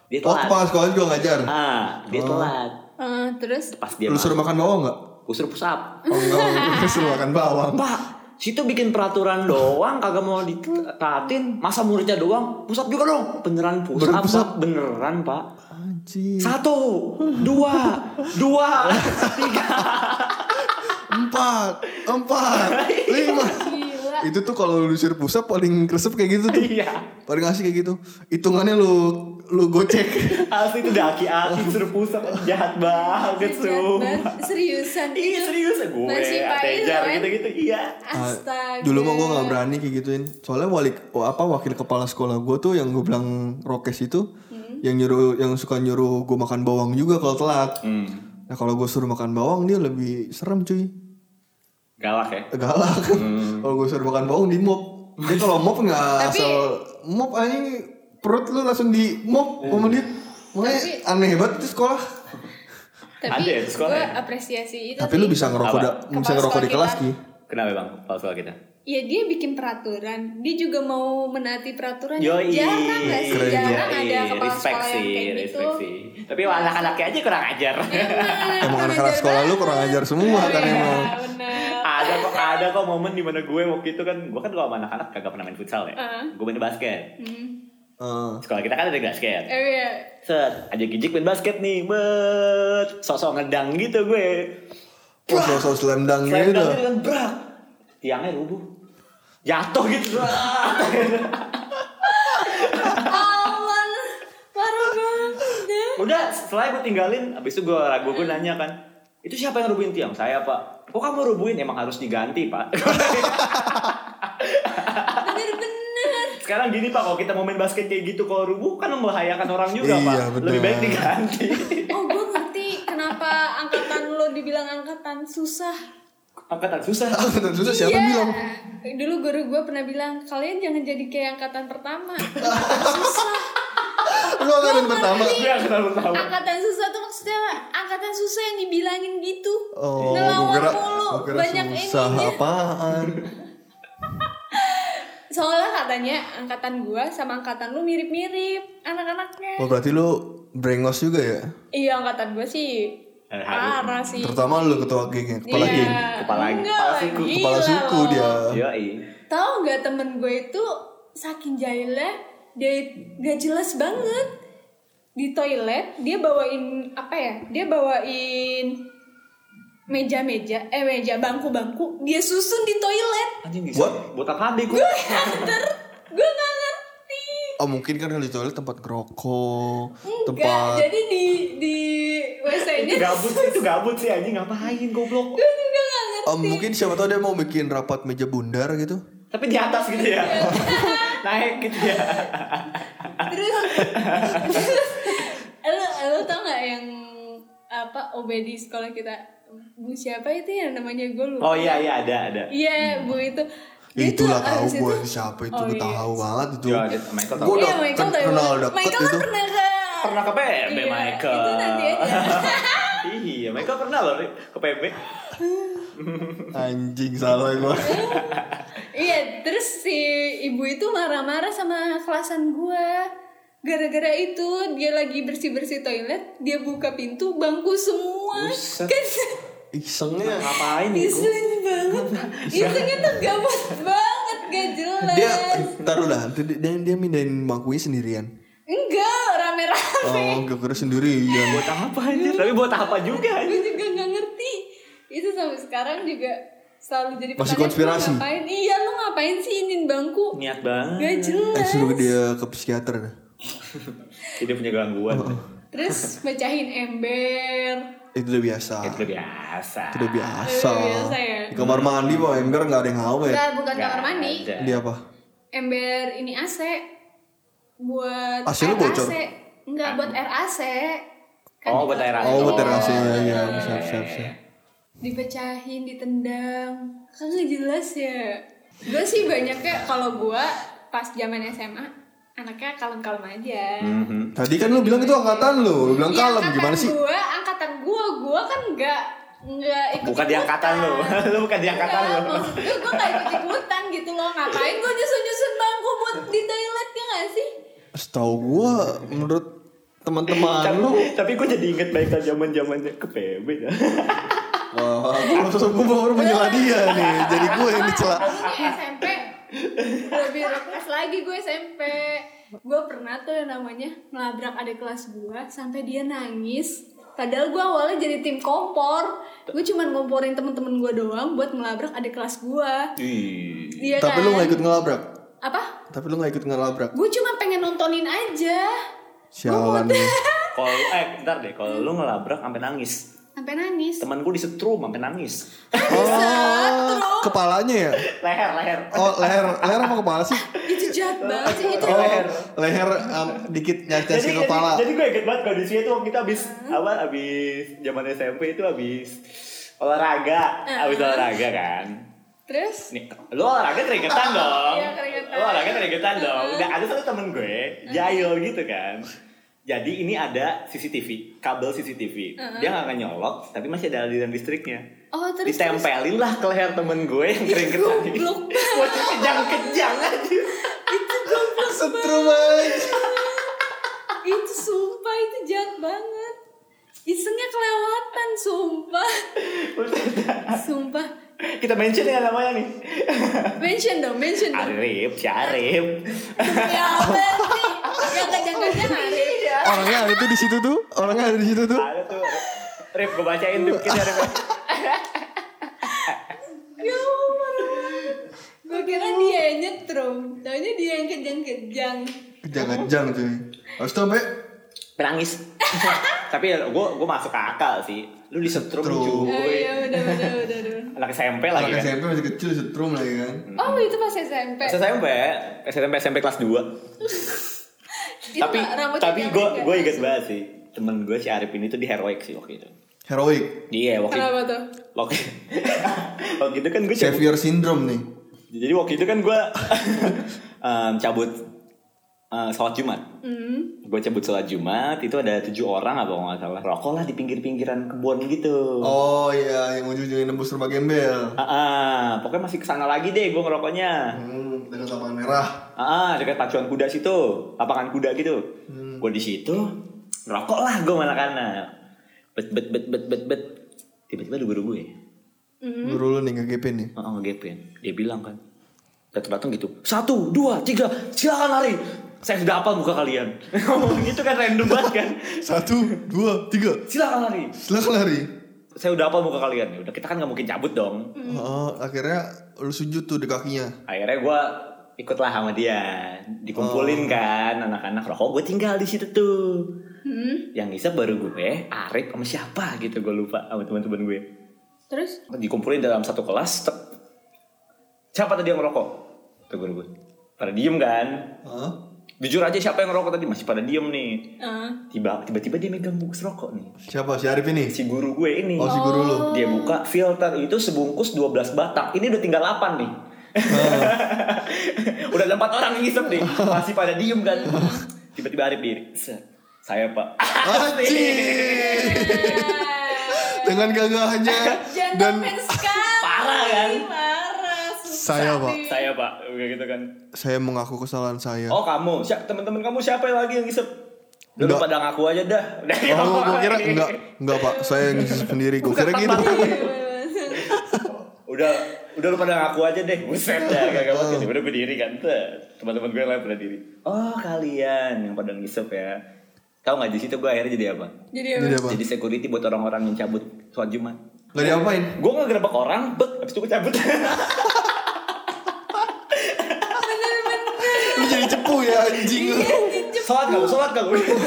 C: dia
B: Oh,
C: telat
B: kepala sekolah juga ngajar.
C: ah dia telat
D: eh, terus
C: pas dia
B: Lu suruh makan bawang
D: *laughs*
B: enggak?
C: usur push up
B: Oh enggak, lu suruh makan bawang.
C: pak situ bikin peraturan doang kagak mau ditaatin masa muridnya doang push up juga dong beneran push
B: Beneran
C: up,
B: push up?
C: Pak. beneran pak
B: Anjing.
C: satu dua dua *laughs* tiga
B: Empat,
D: *laughs*
B: empat, lima.
D: Gila.
B: Itu tuh kalau lu disuruh pusat paling kresep kayak gitu
D: *laughs*
B: tuh.
C: iya
B: Paling asik kayak gitu. Hitungannya lu lu gocek.
D: *laughs*
C: Asli itu daki-aki suruh pusat jahat banget
D: Iya, Jahat banget.
C: sumpah.
D: seriusan
C: Iya
D: itu.
C: serius gue
D: Masih pahit,
C: Atejar
D: kan?
C: gitu-gitu iya.
B: Ah,
D: Astaga.
B: Dulu mah gue gak berani kayak gituin Soalnya wali, oh, apa wakil kepala sekolah gue tuh yang gue bilang rokes itu
D: Hmm.
B: Yang nyuruh yang suka nyuruh gue makan bawang juga kalau telat
D: Hmm.
C: Hmm,
B: Nah kalau gue suruh makan bawang dia lebih serem cuy
C: Galak ya.
B: Galak Kalau gue suruh makan bawang di mop Dia kalau mop gak
D: Tapi-
B: asal mop aja perut lu langsung di mop lima menit Makanya
D: Tapi-
B: aneh banget itu sekolah
D: Tapi
C: Ada ya di sekolah
D: gue
C: ya?
D: apresiasi itu.
B: Tapi
D: sih.
B: lu bisa ngerokok,
C: Apa?
B: da- bisa
D: Kepala
B: ngerokok di
D: sekolah
B: kelas
D: kita.
B: Ki
C: Kenapa bang kepala sekolah kita?
D: Ya dia bikin peraturan, dia juga mau menaati peraturan.
C: Yoi.
D: Jarang gak sih?
B: Keren,
D: Jarang
C: Yoi.
D: ada kepala
C: iya. respect
D: sekolah
C: sih,
D: yang kayak gitu. Iya.
C: respect sih. Tapi anak-anaknya aja kurang ajar.
B: Emang anak-anak sekolah lu kurang ajar semua kan emang
D: Benar.
C: ada kok ada kok momen dimana gue waktu itu kan gue kan kalau sama anak-anak kagak pernah main futsal ya.
D: Heeh.
C: Gue main basket.
B: Eh,
C: Sekolah kita kan ada basket.
D: Eh, iya.
C: Set, aja gijik main basket nih, bet, sosok ngedang gitu gue.
B: Oh, sosok slam dunk *laughs*
C: Slam
B: gitu.
C: dunk itu kan brak. Tiangnya rubuh. Jatuh gitu. brak.
D: Awan, parah banget.
C: Udah, setelah gue tinggalin, abis itu gue ragu gue nanya kan, itu siapa yang rubuhin tiang? Saya pak. Kok kamu rubuhin? Emang harus diganti pak. *laughs*
D: Bener-bener.
C: Sekarang gini pak, kalau kita mau main basket kayak gitu, kalau rubuh kan membahayakan orang juga
B: Iya,
C: pak.
B: benar.
C: Lebih baik diganti. *laughs*
D: Oh gue ngerti kenapa angkatan lo dibilang angkatan susah.
C: Angkatan
B: *laughs*
C: susah.
B: Ah, bentar, susah siapa
D: Iya.
B: bilang?
D: Dulu guru gue pernah bilang kalian jangan jadi kayak angkatan pertama. Angkatan susah.
B: Lu angkatan pertama.
C: Iya, kenal tahu.
D: Angkatan susah tuh maksudnya apa? angkatan susah yang dibilangin gitu.
B: Oh, gua
D: Ngelawan
B: kira,
D: mulu,
B: gua kira
D: banyak
B: susah
D: ininya.
B: apaan.
D: Soalnya katanya angkatan gue sama angkatan lu mirip-mirip anak-anaknya.
B: Oh, berarti lu brengos juga ya?
D: Iya angkatan gue sih
C: Eh,
D: parah sih.
B: Terutama lu ketua gengnya, kepala
D: Iya.
B: geng.
C: Kepala geng,
D: Enggak
C: kepala
D: lah,
C: suku,
D: gila
B: Kepala suku
D: loh.
B: dia.
C: Iya,
D: Tahu nggak temen gue itu saking jahilnya dia gak jelas banget di toilet dia bawain apa ya dia bawain meja-meja eh meja bangku-bangku dia susun di toilet
C: Anjing
B: Buat?
C: bisa. Buat apa gue?
D: Ter, gue gak ngerti
B: Oh, mungkin kan kalau di toilet tempat ngerokok,
D: Enggak,
B: tempat
D: jadi di di wc nya
C: Itu gabut, itu gabut sih anjing ngapain goblok.
D: gue juga gak ngerti
B: Oh, mungkin siapa tahu dia mau bikin rapat meja bundar gitu.
C: Tapi di atas gitu
D: *laughs*
C: ya. Naik gitu ya.
D: terus *laughs* lo lo tau nggak yang apa OB di sekolah kita bu siapa itu yang namanya gue lupa
C: Oh iya iya ada ada.
D: iya bu itu Dia tuh
B: Ya, Itulah tahu
D: abis
B: gue
D: itu-
B: siapa itu,
D: Oh,
B: gue
D: iya.
B: tahu banget itu.
C: Iya, ada- Michael tahu.
B: Gue
D: iya
B: udah
D: Michael tahu
B: kenal gitu.
D: banget.
B: deket
D: Michael
B: itu.
D: kan pernah ke
C: Pernah ke PB
D: Iya,
C: Michael.
D: itu nanti aja.
C: *laughs* iya, Michael pernah loh Ri, ke E. PB.
B: Anjing salah
D: *laughs*
B: gue.
D: iya terus si ibu itu marah-marah sama kelasan gue gara-gara itu dia lagi bersih-bersih toilet dia buka pintu bangku semua
C: Buset.
D: kan Iya.
B: Isengnya
C: Ngapain itu?
D: Ngeselin banget Isinya tuh gabut banget Gak jelas
B: dia eh, taruh dah dia, dia, dia mindahin bangkunya sendirian
D: Enggak rame-rame
B: oh gue kira sendirian
C: Buat apa anjir?
D: Iya.
C: Tapi buat apa juga
D: Gue
C: anjir?
D: juga gak ngerti Itu sampai sekarang juga Selalu jadi
B: Masih
D: pertanyaan,
B: konspirasi?
D: lu ngapain? Iya lu ngapain sih inin bangku
C: Niat banget.
D: Gak
B: eh
D: jelas
B: suruh dia ke psikiater dah
C: Jadi punya gangguan.
D: Terus pecahin ember
B: itu udah biasa
C: Itu udah biasa.
B: itu udah biasa
D: Itu udah biasa ya?
B: di kamar mandi mau ember nggak ada yang hawe
D: Enggak bukan
C: Nggak
D: kamar mandi
C: ada.
B: dia apa
D: Ember ini AC Buat
B: AC lu
D: air
B: bocor?
D: AC. Enggak buat air AC Kan
C: Oh, buat air AC.
B: oh buat
C: Oh,
B: terasi ya ya
C: iya,
B: siap
C: iya,
B: siap
C: iya.
B: siap
D: dipecahin ditendang kan nggak jelas ya gue sih banyaknya kalau gue pas zaman SMA anaknya kalem-kalem aja.
C: Mhm.
B: Tadi kan lu bilang itu angkatan lu, lu bilang
D: Iya,
B: kalem
D: angkatan
B: gimana sih?
D: Gua, angkatan gua, gua kan nggak nggak ikut.
C: Bukan di angkatan lu. *laughs* Lu bukan di angkatan
D: Enggak,
C: lu.
D: maksud gue gue gak ikut ikutan gitu loh ngapain gue nyusun nyusun bangku buat di toilet ya gak sih
B: Setahu gua menurut teman-teman
C: Tapi-
B: lu
C: Tapi gue jadi inget baikkan zaman zamannya ke PB. dah.
B: Wah, maksud gue baru
D: *laughs*
B: menyela dia nih. Jadi gue yang dicela.
D: Aku nih SMP lebih rekas lagi gue SMP gue pernah tuh yang namanya ngelabrak adik kelas gue sampai dia nangis padahal gue awalnya jadi tim kompor gue cuman ngomporin temen-temen gue doang buat ngelabrak adik kelas gue
C: Ih.
D: iya
B: Tapi
D: kan?
B: lu gak ikut ngelabrak.
D: apa
B: Tapi lu gak ikut ngelabrak.
D: gue cuma pengen nontonin aja
B: Sialan.
C: Kalau eh bentar deh, kalau lu ngelabrak sampai nangis.
D: *laughs* sampai nangis
C: Temen gue disetrum sampai nangis.
B: Oh, kepalanya ya?
C: Leher, leher.
B: Oh, leher leher apa kepala sih?
D: itu jahat banget sih itu
B: Oh, leher um, dikit nyacasin kepala.
C: jadi gue inget banget kondisinya tuh kita habis apa habis zaman SMP itu habis olahraga, habis olahraga kan.
D: terus
C: Nih, lu olahraga keringetan dong.
D: Iya, keringetan.
C: Lu olahraga keringetan dong. Nah, ada satu temen gue, jahil gitu kan. Jadi ini ada CCTV, kabel CCTV. Dia gak akan nyolok, tapi masih ada aliran listriknya.
D: Oh terus
C: Ditempelin lah ke leher temen gue yang keringetan.
D: goblok
C: Bocah kejang-kejang aja.
B: Setrum aja.
D: terus. itu sumpah itu jahat banget. Isengnya kelewatan sumpah.
C: Ah.
D: sumpah.
C: Kita mention ya namanya nih.
D: Mention dong, mention dong.
C: Arif, Syarif.
D: ya
C: *laughs*
D: apa sih? Ya kejang-kejang Arif.
C: Iya.
B: Orangnya ada tuh di situ tuh. Orangnya ada di situ tuh.
C: Ada tuh. Rif, gue bacain tuh kita Rif.
D: Ya Allah, parah banget. Gua kira dia yang nyetrum, taunya dia yang kejang-kejang.
B: Kejang-kejang cuy. Habis itu sampai
C: Menangis. Tapi gue gue masuk akal sih. Lu disetrum
B: Setrum.
D: Oh
C: cuy.
D: iya udah udah udah udah.
C: Anak SMP lagi
B: anak
C: kan.
B: SMP masih kecil setrum lagi kan.
D: Oh itu pas SMP.
C: Hmm. Pas SMP, SMP SMP kelas 2.
D: Itu
C: tapi
D: rambutnya
C: tapi
D: pendek
C: gue
D: nggak?
C: gue inget banget sih. Temen gue si Arif ini tuh di heroik sih waktu itu.
B: Heroik.
C: Iya, waktu
D: Kenapa tuh?
C: Waktu, waktu itu kan gue cabut.
B: Savior syndrome nih.
C: Jadi waktu itu kan gue *laughs* em, cabut eh, sholat Jumat.
D: Hmm.
C: Gue cabut sholat Jumat itu ada tujuh orang apa nggak salah. Rokok lah di pinggir-pinggiran kebun gitu.
B: Oh iya, yang ujung-ujungnya nembus rumah gembel.
C: Ah, ah, pokoknya masih kesana lagi deh gue ngerokoknya.
B: Hmm, dengan lapangan merah.
C: Ah, ah, dekat pacuan kuda situ, lapangan kuda gitu. Gue di situ ngerokok lah gue malah karena bet bet bet bet bet bet tiba-tiba ada guru gue.
B: Guru lu nih ngegepin nih.
C: Heeh, ngegepin. Dia bilang kan. Datang-datang gitu. Satu, dua, tiga, silakan lari. Saya sudah hafal muka kalian. *laughs* Ngomong gitu kan random banget kan.
B: Satu, dua, tiga.
C: Silakan lari.
B: Silakan lari.
C: Saya udah hafal muka kalian. Ya udah kita kan nggak mungkin cabut dong.
B: Oh, akhirnya lu sujud tuh di kakinya.
C: Akhirnya gue ikutlah sama dia. Dikumpulin kan anak-anak rokok. Gue tinggal di situ tuh.
D: Hmm.
C: Yang ngisep baru gue, Arif sama siapa gitu gue lupa sama teman-teman gue.
D: Terus?
C: Dikumpulin dalam satu kelas. tek. Siapa tadi yang ngerokok? Tuh guru gue. Pada diem kan.
B: Hah?
C: Jujur aja siapa yang ngerokok tadi masih pada diem nih.
D: Ah.
C: *laughs* Tiba tiba-tiba dia megang bungkus rokok nih.
B: Siapa? Si Arif ini?
C: Si guru gue ini.
B: Oh, si guru lu.
C: Dia buka filter itu sebungkus 12 batang. Ini udah tinggal 8 nih.
B: Hmm.
C: *laughs* udah ada 4 orang yang ngisep nih. Masih pada diem kan. Tiba-tiba Arif diri. Set. Saya pak.
D: *laughs*
B: Anjir. Dengan gagahnya dan
D: Gentleman
B: *laughs*
D: sekali.
C: Parah kan?
D: Parah. susah
B: Saya, Pak.
D: nih.
C: Saya pak. Kayak gitu kan.
B: saya mengaku kesalahan saya.
C: Oh kamu. Siap teman-teman kamu siapa lagi yang ngisep? Lu
B: Enggak.
C: pada ngaku aja dah. Udah, ya,
B: Oh,
C: apa
B: gua
C: *laughs*
B: kira
C: lagi?
B: enggak, enggak Pak. Saya yang ngisi sendiri. Gua kira gitu.
D: Iya.
C: udah udah lu pada ngaku aja deh buset dah gak
B: Oh.
C: gak udah gue diri kan Tet, teman-teman gue yang lain pada diri oh kalian yang pada ngisep ya tahu nggak di situ gue akhirnya jadi apa
D: Jadi
B: Jadi
D: *laughs*
B: apa?
C: jadi security buat orang-orang yang cabut sholat jumat
B: Enggak diapain.
C: gue nggak gerbek orang bet abis itu gue cabut
B: Lu jadi cepu ya anjing lu.
D: Iya.
C: sholat gak lu, sholat gak lu?
D: ya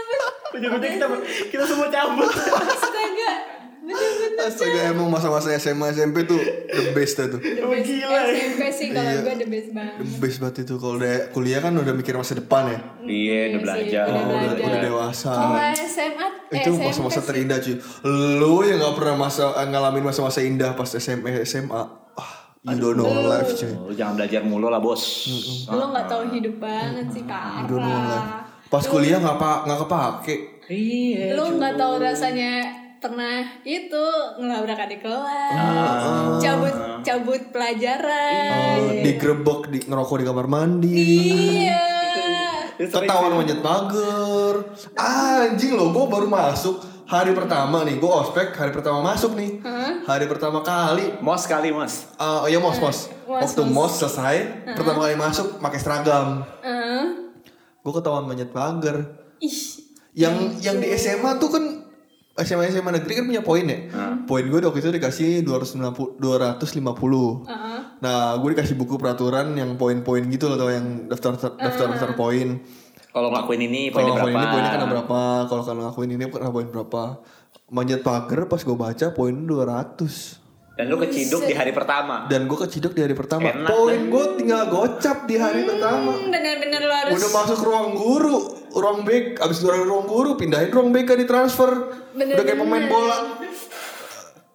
D: ampun.
C: ujung-ujungnya kita kita semua cabut
D: Astaga. Bener-bener.
B: Astaga emang masa-masa SMA SMP tuh the best dah tuh.
C: Emang gila ya.
D: SMP sih kalau
B: Iya.
D: gue the best banget.
B: The best banget itu kalau udah kuliah kan udah mikir masa depan ya.
C: iya udah
D: sih,
C: belajar
D: udah
B: Oh, udah,
D: Belajar.
B: udah dewasa.
D: Kalau SMA, eh,
B: itu
D: SMP
B: masa-masa eh,
D: sih.
B: E, terindah cuy lu yang nggak pernah masa ngalamin masa-masa indah pas SMA SMA ah You don't know our life cuy.
C: Oh, Lu jangan belajar mulu lah bos.
D: Lo nggak tahu hidup banget sih
B: You
D: parah.
B: don't know our life. Pas kuliah nggak pak nggak kepake.
C: Iya.
D: Lo nggak tahu rasanya pernah itu ngelabrak adik kelas, cabut cabut pelajaran.
B: Ah. Oh, digrebek di ngerokok di kamar mandi.
D: Iya.
B: Tertawan manjat pagar. Anjing lo, gue baru masuk hari pertama nih, gue ospek hari pertama masuk nih. Hari pertama kali
C: Mos kali mos.
B: Eh, ya mos mos.
D: Hmm? Mos, Hmm.
B: Waktu mos selesai, pertama kali masuk pakai seragam.
D: Eh,
B: Gue ketahuan manjat pagar.
D: Ih,
B: Yang yang di SMA tuh kan SMA SMA negeri kan punya poin ya. Poin gue waktu itu dikasih 290 250.
D: Heeh.
B: Nah, gue dikasih buku peraturan yang poin-poin gitu loh, atau yang daftar daftar daftar poin.
C: Kalau ngelakuin ini
B: Kalau
C: poinnya
B: ngakuin ini poinnya kan kena
C: berapa?
B: berapa? Kalau kalau ngakuin ini kena poin berapa? Manjat pagar pas gue baca poin 200
C: Dan lu keciduk di hari pertama.
B: dan gue keciduk di hari pertama.
C: Enak, kan? Hmm.
B: poin gue tinggal gocap di hari pertama.
D: bener-bener lo harus
B: Udah masuk ruang guru, ruang bek, abis dari ruang guru pindahin ruang BK di transfer.
D: Bener-bener.
B: Udah kayak pemain bola.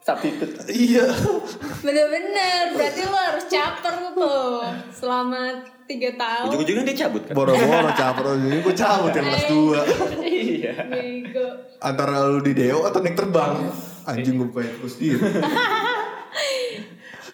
C: Substitute.
B: Iya.
D: Bener-bener, berarti lo harus caper tuh selama tiga tahun.
C: Ujung-ujungnya dia cabut kan?
B: Boro-boro caper ini gue cabut yang kelas
D: Eh.
B: 2.
C: Iya.
D: Bego.
B: Antara lu di Deo atau naik terbang. Anjing gue bukannya terus dia.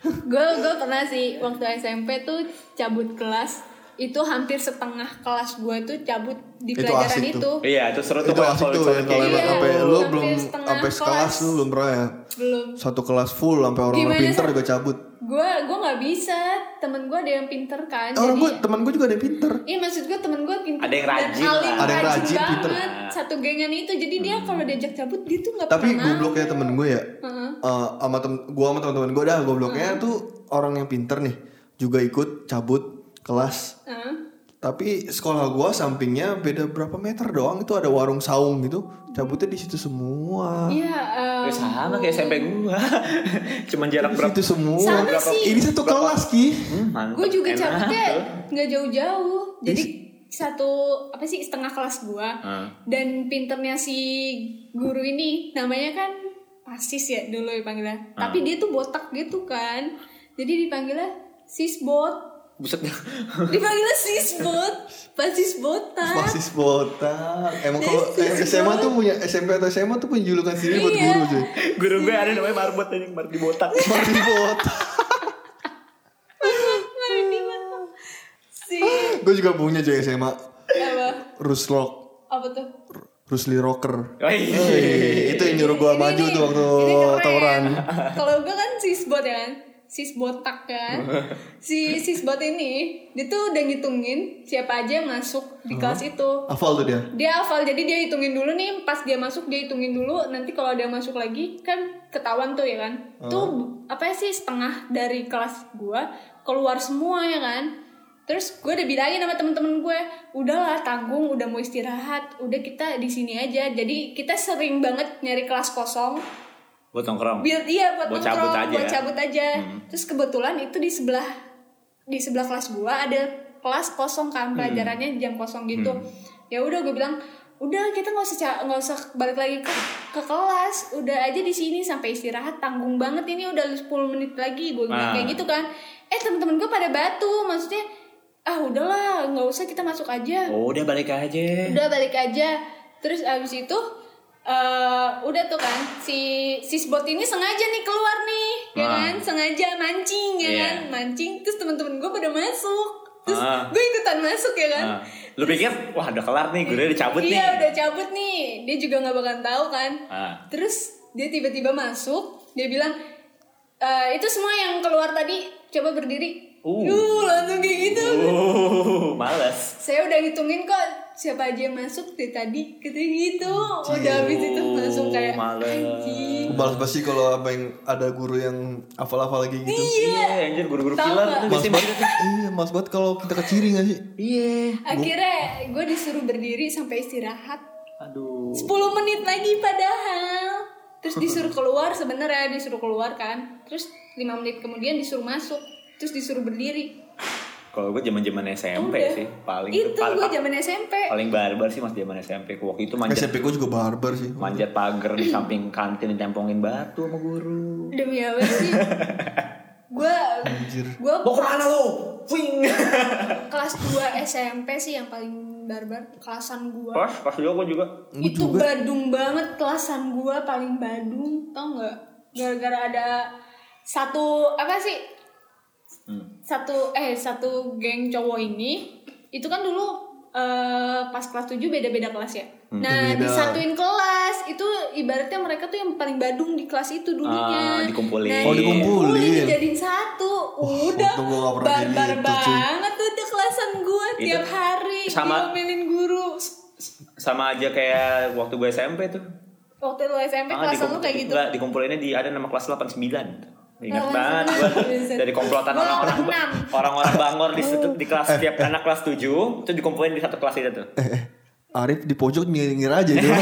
D: Gue gue pernah sih waktu SMP tuh cabut kelas itu hampir setengah kelas gue tuh cabut di
B: Itu
D: pelajaran
B: asik
D: itu.
B: tuh.
C: Iya, itu seru tuh
B: Itu
C: kalau
B: asik tuh ya
C: solid-solid
B: kalau
C: kayak
D: Iya.
B: emang
C: gitu.
B: sampai lu
D: Sampai
B: belum
D: setengah
B: sampai sekelas
D: kelas.
B: lu belum pernah ya.
D: Belum.
B: Satu kelas full sampai orang-orang
D: Gimana,
B: pinter
D: Sa?
B: juga cabut. Eh,
D: Gue gue nggak bisa. Temen gue ada yang pinter kan.
B: Orang
D: jadi
B: gue teman gue juga ada yang pinter.
D: Iya maksud gue temen gue pinter
C: Ada yang
D: dan
C: rajin
D: alim,
C: lah. Nah. Hmm.
B: Ada yang
D: rajin,
B: rajin, pinter.
D: banget Satu gengan itu Jadi dia kalau diajak cabut Dia tuh gak
B: Tapi
D: pernah mau.
B: gobloknya temen gue ya.
D: Heeh.
B: Eh, sama tem gue sama teman-teman gue dah gobloknya tuh orang yang pinter nih juga ikut cabut kelas
D: Heeh.
B: tapi sekolah gue sampingnya beda berapa meter doang itu ada warung saung gitu cabutnya di situ semua
D: Iya eh,
C: Ya, sama kayak SMP gua. *laughs* Cuman jarak
B: di
C: berapa?
B: situ semua
D: Sama sih.
B: ini satu kelas ki
C: Hmm, mantep.
D: Gue juga
C: Enak
D: cabutnya
C: tuh.
D: nggak jauh-jauh Jadi satu apa sih setengah kelas gue
C: Heeh.
D: dan pinternya si guru ini namanya kan pasis ya dulu
C: Hmm.
D: dipanggilnya tapi dia tuh botak gitu kan jadi dipanggilnya sisbot
C: Buset. *laughs*
D: dipanggilnya sisbot pasis botak
B: Pasis botak Emang kalau eh, SMA tuh punya SMP atau SMA tuh punya julukan sendiri buat
D: Iya.
B: guru cuy
C: Guru gue ada namanya Marbot anjing, Marbot di botak.
B: Pasis botak
D: Marni banget. si
B: Gue juga punya cuy SMA
D: apa
B: Ruslock
D: apa tuh
B: Rusli Rocker
C: Wih.
D: *laughs*
B: Hey, Itu yang nyuruh gue
D: Ini-
B: maju
D: ini-
B: tuh waktu
D: ini keren.
B: tawuran
D: kalau gue kan sisbot ya kan sis botak
B: *laughs*
D: kan si sisbot ini dia tuh udah ngitungin siapa aja yang masuk di kelas itu
B: Hafal tuh dia
D: dia hafal jadi dia hitungin dulu nih pas dia masuk dia hitungin dulu nanti kalau dia masuk lagi kan ketahuan tuh ya kan tuh apa ya sih setengah dari kelas gua keluar semua ya kan terus gue udah bilangin sama temen-temen gue udahlah tanggung udah mau istirahat udah kita di sini aja jadi kita sering banget nyari kelas kosong
C: Buat nongkrong.
D: biar iya buat,
C: Buat
D: nongkrong,
C: cabut aja
D: buat
C: ya.
D: cabut aja terus kebetulan itu di sebelah di sebelah kelas gua ada kelas kosong
C: Hmm.
D: kan pelajarannya jam kosong gitu ya udah gue bilang udah kita nggak usah ca- nggak usah balik lagi ke, ke kelas udah aja di sini sampai istirahat tanggung banget ini udah 10 menit lagi gue bilang
C: Ah.
D: kayak gitu kan eh temen-temen gue pada batu maksudnya ah udahlah nggak usah kita masuk aja
C: Oh, udah balik aja.
D: udah balik aja terus abis itu eh udah tuh kan si sisbot ini sengaja nih keluar nih ya
C: Ah.
D: kan sengaja mancing ya
C: Iya.
D: kan mancing terus teman-teman gue pada masuk terus
C: Ah.
D: gue ikutan masuk ya kan
C: Nah, lu pikir, wah udah kelar nih, gue udah cabut nih.
D: iya udah cabut nih dia juga nggak bakal tahu kan
C: Ah.
D: terus dia tiba-tiba masuk dia bilang "Eh, itu semua yang keluar tadi coba berdiri
C: Uh.
D: Uh, langsung kayak gitu
C: Uh, males.
D: saya udah ngitungin kok siapa aja yang masuk dari tadi katanya gitu udah habis itu langsung kayak
C: males.
D: anjing
B: Balas basi kalau apa yang ada guru yang hafal-hafal lagi gitu
C: Iya, anjir guru-guru
D: Tahu
C: killer
D: nggak?
C: tuh
B: Mas
C: biasanya
B: banget
C: begitu.
B: Iya mas banget kalau kita keciri gak sih
C: Iya.
D: akhirnya gue disuruh berdiri sampai istirahat
C: Aduh.
D: 10 menit lagi padahal terus disuruh keluar sebenarnya disuruh keluar kan terus 5 menit kemudian disuruh masuk terus disuruh berdiri
C: Kalau gue zaman-zaman SMP
D: Udah.
C: sih paling
D: itu
C: paling,
D: gue zaman SMP
C: paling barbar sih mas zaman SMP. Waktu itu manjat
B: SMP gue juga barbar sih
C: manjat *laughs* pagar di samping kantin ditempongin batu sama guru.
D: demi apa sih gue
B: Anjir.
D: gue
C: Mau kemana lo? Wing.
D: kelas 2 SMP sih yang paling barbar kelasan gue
C: Pas, pas juga gue juga.
B: Gitu
D: itu badung banget kelasan gue paling badung tau nggak gara-gara ada satu apa sih
C: Hmm.
D: satu eh satu geng cowok ini itu kan dulu eh, pas kelas 7 beda-beda kelas ya.
B: Hmm.
D: Nah,
B: Beda.
D: disatuin kelas itu ibaratnya mereka tuh yang paling badung di kelas itu
C: Ah,
D: dulunya.
C: dikumpulin.
D: Nah,
B: Oh, dikumpulin. Oh,
D: dijadiin satu. Udah.
B: untung gua nggak pernah jadi itu,
D: barbar
B: cuy.
D: banget tuh udah kelasan gua
C: Itu
D: tiap hari
C: sama-
D: diomelin guru.
C: Sama aja kayak waktu gue SMP tuh.
D: Waktu lu SMP
C: Ah,
D: kelasan lu
C: dikum-
D: kayak gitu.
C: Enggak, dikumpulinnya di ada nama kelas 89. Ingat
D: Kelas
C: banget gue
D: 89.
C: dari komplotan
D: Gua
C: orang-orang
D: nomor enam. Oh.
C: orang-orang bangor di situ di kelas setiap anak kelas 7 itu dikumpulin di satu kelas itu tuh.
B: Eh, Arif di pojok nyengir aja
D: *laughs*
B: dia.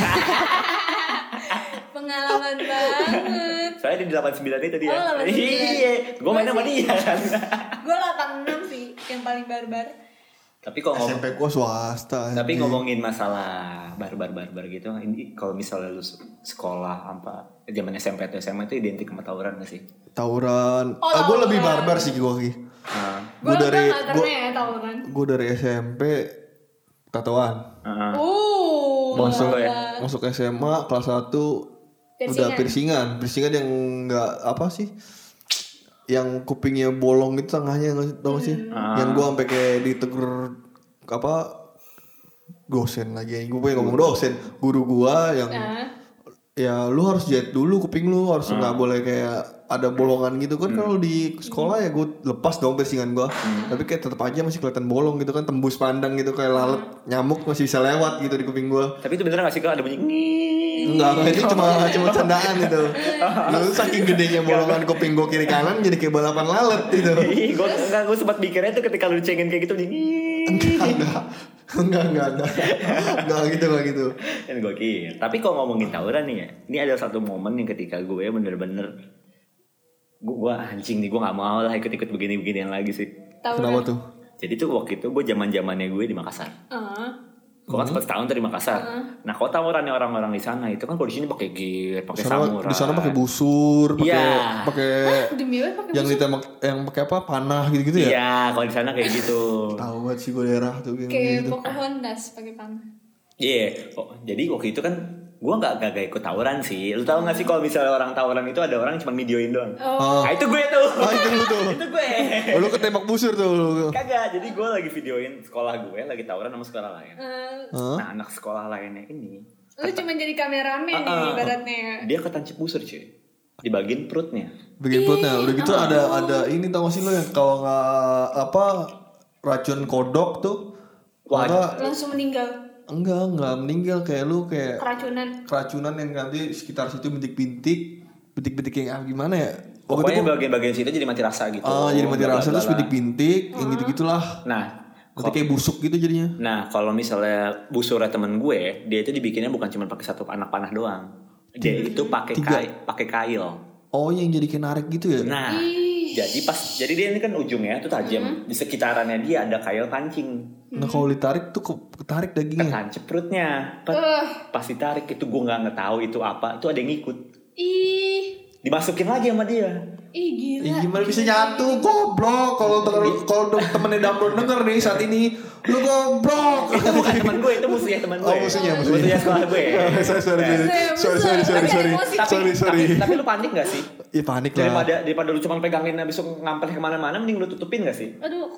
B: *laughs*
D: Pengalaman banget.
C: Saya di 89 itu dia.
D: Oh, 89.
C: Iya, gue mainnya sama dia kan.
D: Gua 86 sih yang paling barbar.
C: Tapi kalau ngomong
B: SMP gua swasta.
C: Tapi
B: anjing.
C: ngomongin masalah barbar-barbar gitu, ini kalau misalnya lu se- sekolah apa zaman SMP atau SMA itu identik sama tawuran gak sih?
B: tawuran.
D: Oh,
B: ah, gua
D: tawuran.
B: lebih barbar sih gua Ki.
C: Heeh.
D: Gua
B: Gua
D: udah
B: dari-
D: nggak pernah ya tawuran.
B: Gua dari SMP tatoan.
C: Heeh.
D: Uh,
C: Masuk ya?
B: Masuk SMA kelas 1 udah
D: Piercingan.
B: piercingan. Piercingan yang enggak apa sih? Yang kupingnya bolong itu tengahnya nggak sih? tau nggak sih?
C: Hmm. Ah.
B: Yang gua sampai kayak ditegur apa dosen lagi. Gue pengen ngomong dosen, guru gua yang
D: Nah.
B: ya lu harus jahit dulu kuping lu harus
C: Hmm.
B: nggak boleh kayak ada bolongan gitu kan kalau di sekolah ya gue lepas dong piercingan gua
C: Hmm.
B: tapi kayak tetap aja masih kelihatan bolong gitu kan tembus pandang gitu kayak lalat nyamuk masih bisa lewat gitu di kuping gua
C: Tapi itu beneran gak sih kalau ada bunyi "Nging"?
B: Enggak, enggak, itu cuma cuma candaan
C: *laughs*
B: itu. Lalu saking gedenya bolongan kuping gue kiri kanan jadi kayak balapan lalat gitu.
C: Ih, gue enggak gue sempat mikirnya tuh ketika lu cengin kayak gitu bunyi "Nging".
B: Enggak, enggak. Enggak, enggak, enggak. Enggak gitu, enggak gitu.
C: kan gue kira. Tapi kalau ngomongin tawuran nih ya, ini ada satu momen yang ketika gue bener-bener gue, gue anjing nih gue nggak mau lah ikut-ikut begini-beginian lagi sih.
D: Tawuran.
B: Kenapa tuh?
C: Jadi tuh waktu itu gue zaman zamannya gue di Makassar.
D: Ah.
C: Gue
B: Hmm.
C: kan sempat setahun dari Makassar. Nah, kalau tawurannya orang-orang di sana itu kan kalau di sini pakai gear,
B: Di
C: pakai
B: sana
C: samurai.
B: di sana pakai busur, pakai
C: Iya.
B: pakai
D: Demi apa pakai
B: Eh, yang
D: busur?
B: ditembak yang pakai apa? Panah gitu-gitu ya?
C: Iya, kalau di sana kayak gitu.
B: Tahu banget sih gue daerah tuh kayak
D: Kayak
B: gitu.
D: Pocahontas pakai panah.
C: Iya. Oh, jadi waktu itu kan gue nggak gak, gak ikut tawuran sih. Lu tau gak sih kalau misalnya orang tawuran itu ada orang yang cuma videoin doang.
B: Oh,
C: Nah, itu gue tuh.
B: ah, itu lu tuh.
C: itu gue.
B: Oh, lu ketembak busur tuh. lu.
C: Kagak. Jadi gue lagi videoin sekolah gue lagi tawuran sama sekolah lain.
D: Eh,
B: Hah?
C: Nah, anak sekolah lainnya ini
D: lu cuma jadi
C: Ah, ah.
D: kameramen nih ibaratnya. ya.
C: dia ketancep busur cuy. Di bagian perutnya.
B: Bikin perutnya. Udah gitu ada ada ini tau gak sih lo yang kalau nggak apa racun kodok tuh.
C: Wah. iya.
B: Wah,
D: Langsung meninggal
B: enggak enggak meninggal kayak lu kayak
D: keracunan.
B: keracunan yang nanti sekitar situ bintik-bintik, bintik-bintik yang ah, gimana ya? Waktu itu
C: Pokoknya bagian-bagian situ jadi mati rasa gitu.
B: ah, jadi mati rasa terus
C: Bla-bla-bla.
B: bintik-bintik, yang gitu-gitulah.
C: Nah,
B: Nanti kayak busuk gitu jadinya.
C: Nah, kalau misalnya busurnya temen gue, dia itu dibikinnya bukan cuma pakai satu anak panah doang. Dia
B: Hmm.
C: itu pakai kail, pakai kail.
B: Oh, yang jadi kayak narik gitu ya?
C: Nah, jadi pas jadi dia ini kan ujungnya itu tajam.
B: Hmm.
C: Di sekitarannya dia ada kail pancing.
B: Nah, kalau ditarik tuh ke- ketarik dagingnya.
C: Ketancep perutnya. Pas,
D: Eh.
C: pas ditarik itu gue nggak ngetahu itu apa. Itu ada yang ngikut.
D: Ih,
C: Dimasukin lagi sama
B: *laughs*
C: dia.
D: ih
B: Ih,
D: gila.
B: Eh, gimana bisa nyatu goblok kalau
C: Iya.
B: ter- kalau temennya Damron denger nih saat ini lu goblok
C: *laughs* Itu bukan teman gue, itu musuhnya teman gue.
B: Oh, musuhnya, musuhnya. *laughs*
C: sekolah gue. Nah,
B: sorry, sorry, sorry, sorry, sorry, sorry,
C: Tapi,
B: sorry, sorry.
C: Tapi, tapi lu panik gak sih?
B: Iya panik lah.
C: Daripada daripada lu cuma pegangin habis itu ngampel kemana-mana, mending lu tutupin gak sih?
D: Aduh,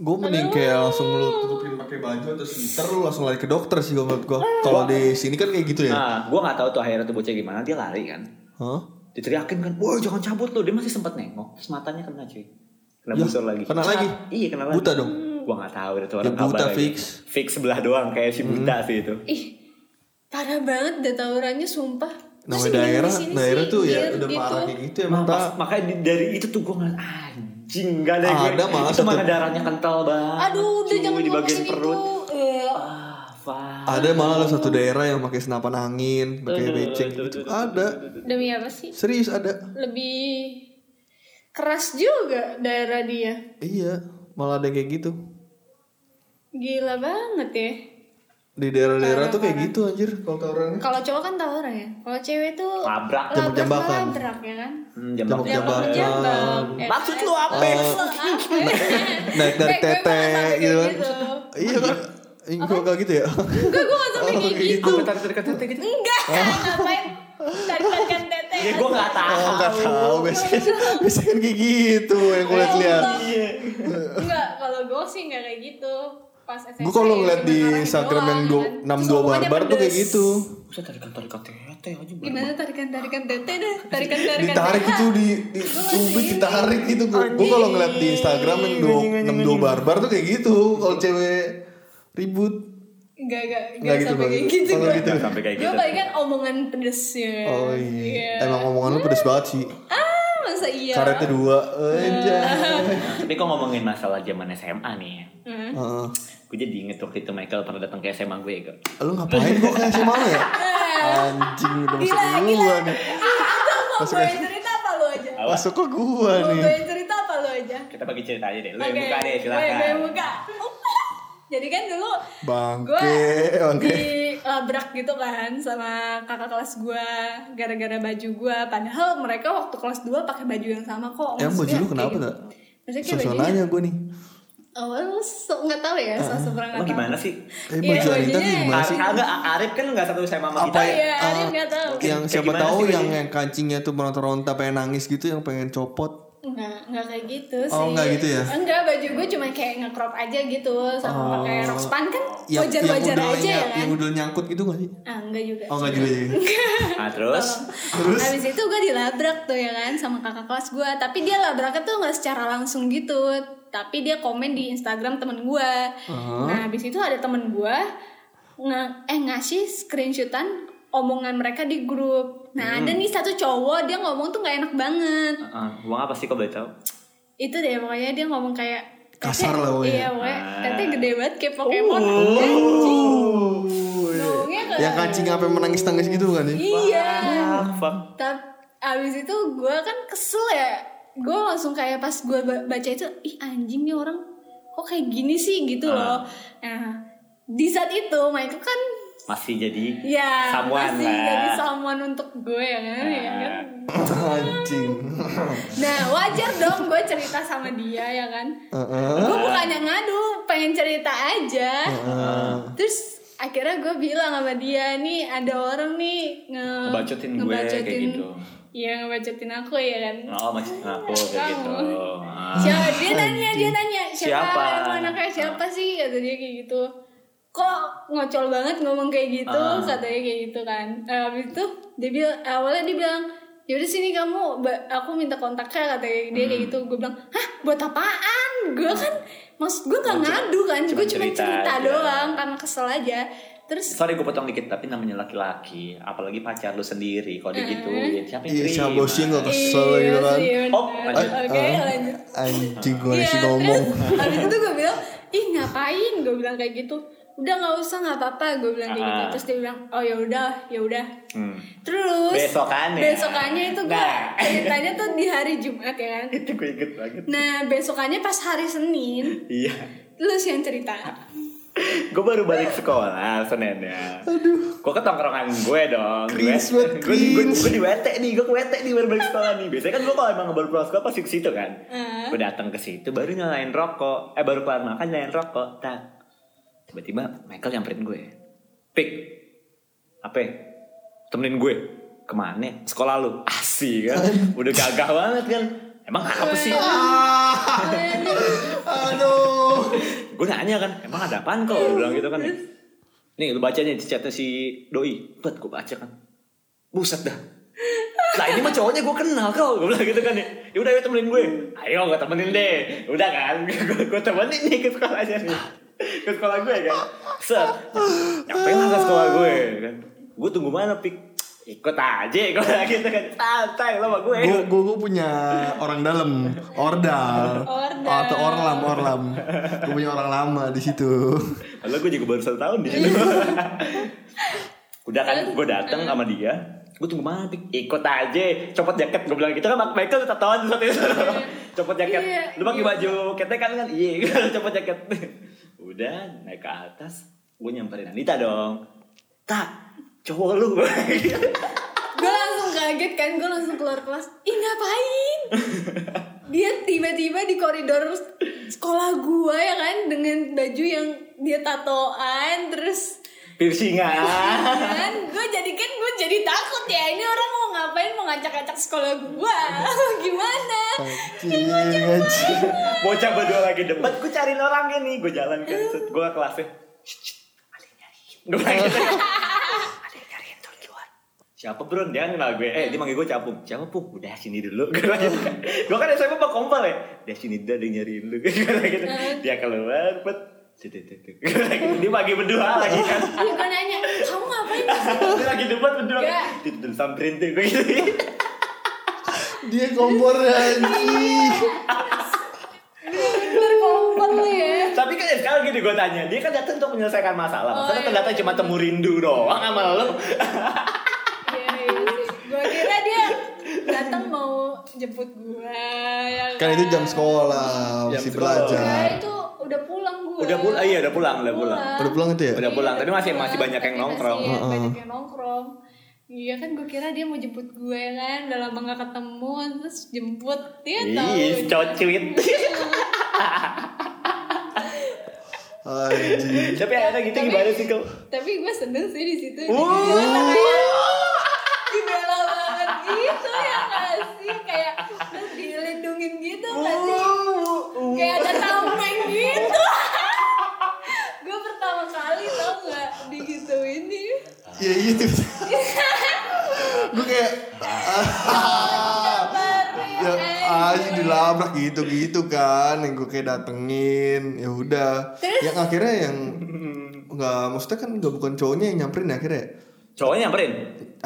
B: Gue mending kayak langsung lu tutupin pakai baju atau sweater lu langsung lari ke dokter sih gua menurut gue. Kalau di sini kan kayak gitu ya.
C: Nah, gue nggak tahu tuh akhirnya tuh bocah gimana dia lari kan.
B: Hah?
C: Diteriakin kan, wah jangan cabut lu. Dia masih sempat nengok. Terus matanya kena cuy. Kena
B: Yah,
C: busur lagi.
B: kena lagi?
C: Iya kena lagi.
B: Buta dong?
C: Gue nggak tahu itu orang
B: Ya, buta
C: kabar lagi.
B: fix.
C: Fix sebelah doang kayak si buta sih itu.
D: ih parah banget dah tawurannya sumpah. Masih
B: Namanya
D: mending
B: daerah,
D: di sini
B: daerah
D: sih,
B: tuh ya
D: gear
B: udah
D: gitu.
B: parah kayak gitu
C: Nah,
B: emang
C: pas,
B: tak.
C: makanya di- dari itu tuh gue ngeliat anjing gak ada, gue.
B: Ada malah
C: itu
B: satu-
C: mana darahnya kental banget.
D: Aduh, udah
C: cuy,
D: jangan
C: di bagian
D: ngomongin
C: perut.
D: itu. Eh,
C: Ah, fuck.
B: Ada malah satu daerah yang pakai senapan angin, pakai beceng gitu. Ada.
D: demi apa sih?
B: Serius ada.
D: Lebih keras juga daerah dia.
B: Iya, malah ada yang kayak gitu.
D: Gila banget ya.
B: Di daerah-daerah tuh kayak gitu anjir kalau
D: *laughs*
B: tawurannya.
D: Kalau cowok kan tawuran ya. Kalau cewek tuh
C: Labrak.
D: labrak
B: Jambak-jambakan.
D: labrak, ya kan.
C: Hmm, jambak
B: Jambak- Jambak.
D: Jambak- jambak, ya kan?
C: Maksud lu apa?
B: Naik dari
D: Eh,
B: tete
D: gue malah sampai
B: gitu kan.
D: kayak gitu.
B: Iya kan. Enggak kayak gitu ya.
D: *laughs* Gue gue gak sampai
B: Oh,
D: kayak
B: kayak
D: gitu.
B: gitu.
C: tarik tarikan tete gitu?
D: Enggak, ngapain? Tarikan tete.
C: Ya gue nggak
B: Oh,
C: tahu.
B: enggak tahu biasanya. Biasanya kan kayak gitu yang gue lihat-lihat.
C: Iya.
D: Enggak, kalau gue sih enggak kayak gitu. Pas SMP.
B: Gue kalau ngeliat
D: cuman
B: di
D: orang
B: Instagram yang
D: gitu doang,
B: dua-
D: kan.
B: enam
D: Iya, Terus
B: dua
D: omongannya
B: barbar tuh kayak
D: pedes.
B: gitu.
C: Bisa tarikan tarikan tete aja. Bang.
D: Gimana tarikan tarikan tete dah?
B: *laughs*
D: Tarikan tarikan.
B: Ditarik gitu di, di cubit ditarik gitu. Gue kalau ngeliat di Instagram yang dua enam dua barbar tuh kayak gitu. Kalau cewek ribut.
D: Enggak enggak enggak
B: Nggak gitu,
D: sampai
B: Bang.
D: kayak gitu.
B: Oh,
D: gue.
B: gitu.
C: Nggak sampai kayak
D: Gue
C: gitu.
D: palingan omongan pedes ya.
B: Oh iya. Emang omongan lu pedes banget sih.
D: Ah, masa iya?
B: Karetnya dua. Aja.
C: Tapi kok ngomongin masalah zaman SMA nih ya.
D: Hmm.
B: Heeh.
C: Gue jadi inget waktu itu Michael pernah datang ke SMA gue ya.
B: Lu ngapain kok kayak SMA lu ya? Anjing udah masuk
D: Gila,
B: ke gua nih.
D: Mau
B: Masuk
D: gue
B: aja.
D: cerita apa lu aja?
C: Awas.
B: Masuk ke gua
D: Mau
B: nih.
D: gue cerita apa lu aja?
C: Kita bagi cerita aja deh. Lu yang
D: Oke,
C: buka deh
D: Gue, gue yang
C: silakan.
D: buka. Oh, *laughs* Jadi kan dulu
B: Bangke,
D: gue
B: bangke.
D: dilabrak gitu kan sama kakak kelas gue gara-gara baju gue padahal mereka waktu kelas 2 pakai baju yang sama kok
B: Emang baju
D: Maksudnya
B: lu
D: kayak
B: kenapa
D: gitu.
B: tak?
D: Maksudnya kayak
B: Sosok
D: bajunya
B: nanya gue nih.
D: Oh lu so, gak tau ya
B: Ah,
D: so, so,
C: Lu gimana sih?
B: Eh
D: Iya,
B: baju Anita
D: bajunya
B: tuh gimana
C: Ar-
B: sih?
C: Agak Arif kan nggak satu SMA sama
B: Apa
C: kita.
B: ya?
D: Iya, Arif
B: Ah,
D: nggak tahu.
B: Yang
C: Kayak
B: siapa
C: gimana
B: tahu
C: sih
B: yang
C: bajunya?
B: yang kancingnya tuh meronta-ronta pengen nangis gitu yang pengen copot.
D: Enggak, enggak kayak gitu sih
B: Oh, nggak gitu ya?
D: Enggak, baju gue cuma kayak nge-crop aja gitu Sama
B: Oh.
D: pakai rok span kan
B: Yang yang
D: wajar-wajar aja
B: udelnya
D: ya kan
B: yang udel nyangkut gitu gak sih?
D: Ah, enggak juga
B: Oh enggak juga ya.
C: Nah, terus
B: Terus?
D: Habis itu gue dilabrak tuh ya kan sama kakak kelas gue Tapi dia labraknya tuh gak secara langsung gitu Tapi dia komen di Instagram temen gue
B: Uh-huh.
D: Nah habis itu ada temen gue nge Eh ngasih screenshotan omongan mereka di grup
B: Hmm.
D: Nah ada nih satu cowok dia ngomong tuh gak enak banget
C: Heeh, ngomong Eh, apa sih kok boleh tahu?
D: Itu deh pokoknya dia ngomong kayak "Tete-
B: Kasar lah pokoknya.
D: Iya pokoknya
C: Ah.
D: tete gede banget kayak Pokemon
B: Oh, iya.
D: Ngomongnya kayak-
B: Yang kancing apa menangis-nangis gitu kan ya?
D: Iya
C: Fuck, fuck.
D: Tapi abis itu gue kan kesel ya Gue langsung kayak pas gue baca itu Ih anjing nih orang kok kayak gini sih gitu
C: Ah.
D: loh Nah di saat itu Michael kan
C: Masih jadi
D: ya
C: Someone
D: masih
C: lah. Ah.
D: jadi someone untuk gue ya kan, ya kan?
B: *laughs* Anjing.
D: Nah wajar dong gue cerita sama dia ya kan
B: Heeh.
D: Gue bukannya ngadu pengen cerita aja
B: Heeh.
D: Terus akhirnya gue bilang sama dia nih ada orang nih nge
C: Ngebacotin gue, kayak gitu."
D: Iya ngebacotin aku ya kan
C: Oh, masih kenapa kayak gitu. Ah.
D: Siapa? Dia nanya, dia nanya siapa,
C: Siapa?
D: emang anaknya siapa sih? Kata dia kayak gitu. Kok ngocol banget ngomong kayak gitu?
C: Ah.
D: Katanya kayak gitu kan. Eh, Habis itu dia bilang awalnya dia bilang Yaudah sini kamu, ba- aku minta kontaknya katanya dia
C: Hmm.
D: kayak gitu. Gue bilang, hah buat apaan? Gue kan, maksud gue gak ngadu
C: Ah.
D: kan,
C: cuma
D: gue cuma
C: cerita
D: cerita,
C: aja.
D: doang karena kesel aja. Terus
C: Sorry gue potong dikit, tapi namanya laki-laki, apalagi pacar lu sendiri, kalau digituin, siapa yang
B: Iya,
C: terima?
B: siapa sih yang gak kesel gitu kan?
D: iya
B: Ah,
D: sih, bener.
C: Oh, lanjut.
D: Oke, lanjut.
B: Eh, Anjing gue
D: Iya,
B: sih ngomong.
D: terus habis itu gue bilang ih ngapain gue bilang kayak gitu udah nggak usah nggak apa-apa gue bilang kayak gitu
C: Ah.
D: terus dia bilang oh ya udah ya udah
C: Hmm.
D: terus
C: Besokannya.
D: besokannya itu gue
C: Nah.
D: *laughs* ceritanya tuh di hari Jumat ya kan
C: Itu gue inget banget.
D: nah besokannya pas hari Senin
C: Iya.
D: lu sih yang
C: *laughs*
D: cerita
C: Gue baru balik sekolah Seninnya Aduh Gue ke tongkrongan gue dong
B: Cringe
C: Gue
B: banget,
C: gue di- gue-
B: cringe.
C: gue di WT nih Gue ke WT nih baru balik sekolah nih Biasanya kan gue kalau emang baru pulang sekolah pasti ke situ kan
D: Hmm.
C: Gue datang ke situ baru nyalain rokok Eh baru kelar makan nyalain rokok Tak Tiba-tiba Michael nyamperin gue Pik Apa ya? Temenin gue Kemana? Sekolah lu Asik kan Udah gagah banget kan Emang apa sih?
B: Aduh.
C: gue nanya kan emang ada apaan kok Gua bilang gitu kan nih lu baca nih chatnya si doi bet gue baca kan buset dah lah ini mah cowoknya gue kenal kok gue bilang gitu kan ya ya udah ayo temenin gue ayo gue temenin deh udah kan gue gue temenin nih ke sekolah aja nih ke sekolah gue kan set nyampe lah ke sekolah gue kan gue tunggu mana pik ikut aja gue bilang *laughs* gitu kan santai lo sama gue
B: Gue gue punya orang dalam, ordal, Oh,
D: Ordal.
B: atau orlam, orlam. Gue punya orang lama di situ.
C: Padahal gue juga baru satu tahun di
D: *laughs*
C: situ. Udah kan gue datang
D: eh.
C: sama dia. Gue tunggu mana Pik? ikut aja. Copot jaket gue bilang gitu kan Mak Michael tetap tahun satu itu. *laughs* Copot jaket.
D: Iya,
C: Lu pakai
D: iya.
C: *laughs* baju ketek kan kan? Iya, copot jaket. Udah naik ke atas. gue nyamperin Anita dong kak cowok lu *laughs*
D: gue langsung kaget kan gue langsung keluar kelas ih ngapain dia tiba-tiba di koridor sekolah gue ya kan dengan baju yang dia tatoan terus
C: piercingan
D: kan gue jadi kan gue jadi takut ya ini orang mau ngapain mau ngacak-ngacak sekolah gue *laughs* gimana
B: Anjing, anjing.
C: bocah berdua lagi debat gue cariin orangnya nih gue jalan kan set gue ke kelasnya "Shh, shh, ada yang nyariin." gue bilang
D: *laughs*
C: gitu ada yang nyariin tuh di luar siapa bro dia kan kenal gue eh dia manggil gue capung siapa pung udah sini dulu *laughs* gue bilang gitu. gue kan SMA mah kompal ya udah sini dulu ada yang nyariin lu *laughs* Gue bilang gitu. dia keluar pet Tut, tut, tut, *laughs* tut. Gue bilang gitu. dia bagi berdua lagi kan
D: Iya, gue nanya kamu ngapain di sini?"
C: dia lagi debat berdua
D: Gak.
C: Tut, tut, samperin tuh gue gitu *laughs*
B: Dia kompor anjing.
D: bener kompor lu ya
C: Tapi kan sekarang gini gue tanya, dia kan datang untuk menyelesaikan masalah.
D: Oh,
C: Masa
D: iya.
C: datang cuma temu rindu doang sama lo.
D: Iya, iya sih. Gua kira dia datang mau jemput gua ya
B: Kan itu jam sekolah,
C: Jam
B: masih
C: sekolah.
D: Enggak,
B: belajar.
D: Iya, itu udah pulang gua
C: Iya, Udah pulang, iya, udah pulang, udah pulang.
B: Udah pulang itu ya?
C: Udah pulang, tapi masih-
D: pulang.
C: masih banyak yang
D: Tapi
C: nongkrong.
D: Iya, masih
B: Heeh.
D: banyak yang nongkrong Iya kan gua kira dia mau jemput gue kan Udah lama gak ketemu Terus jemput Dia tahu Iya.
C: Ih, cocuit.
B: Anjing.
C: *laughs* Tapi akhirnya gitu
D: Tapi-
C: gimana sih kau?
D: Tapi gue seneng sih di situ
C: Wuh.
D: Gimana kayak dibela banget gitu ya gak sih Kayak terus dilindungin gitu gak sih kayak ada tameng gitu gue pertama kali tau nggak digitu ini
B: Iya iya. Gue kayak ya aja dilabrak gitu-gitu kan yang gue kayak datengin ya udah yang akhirnya yang nggak maksudnya kan nggak bukan cowoknya yang nyamperin ya akhirnya
C: Cowoknya nyamperin.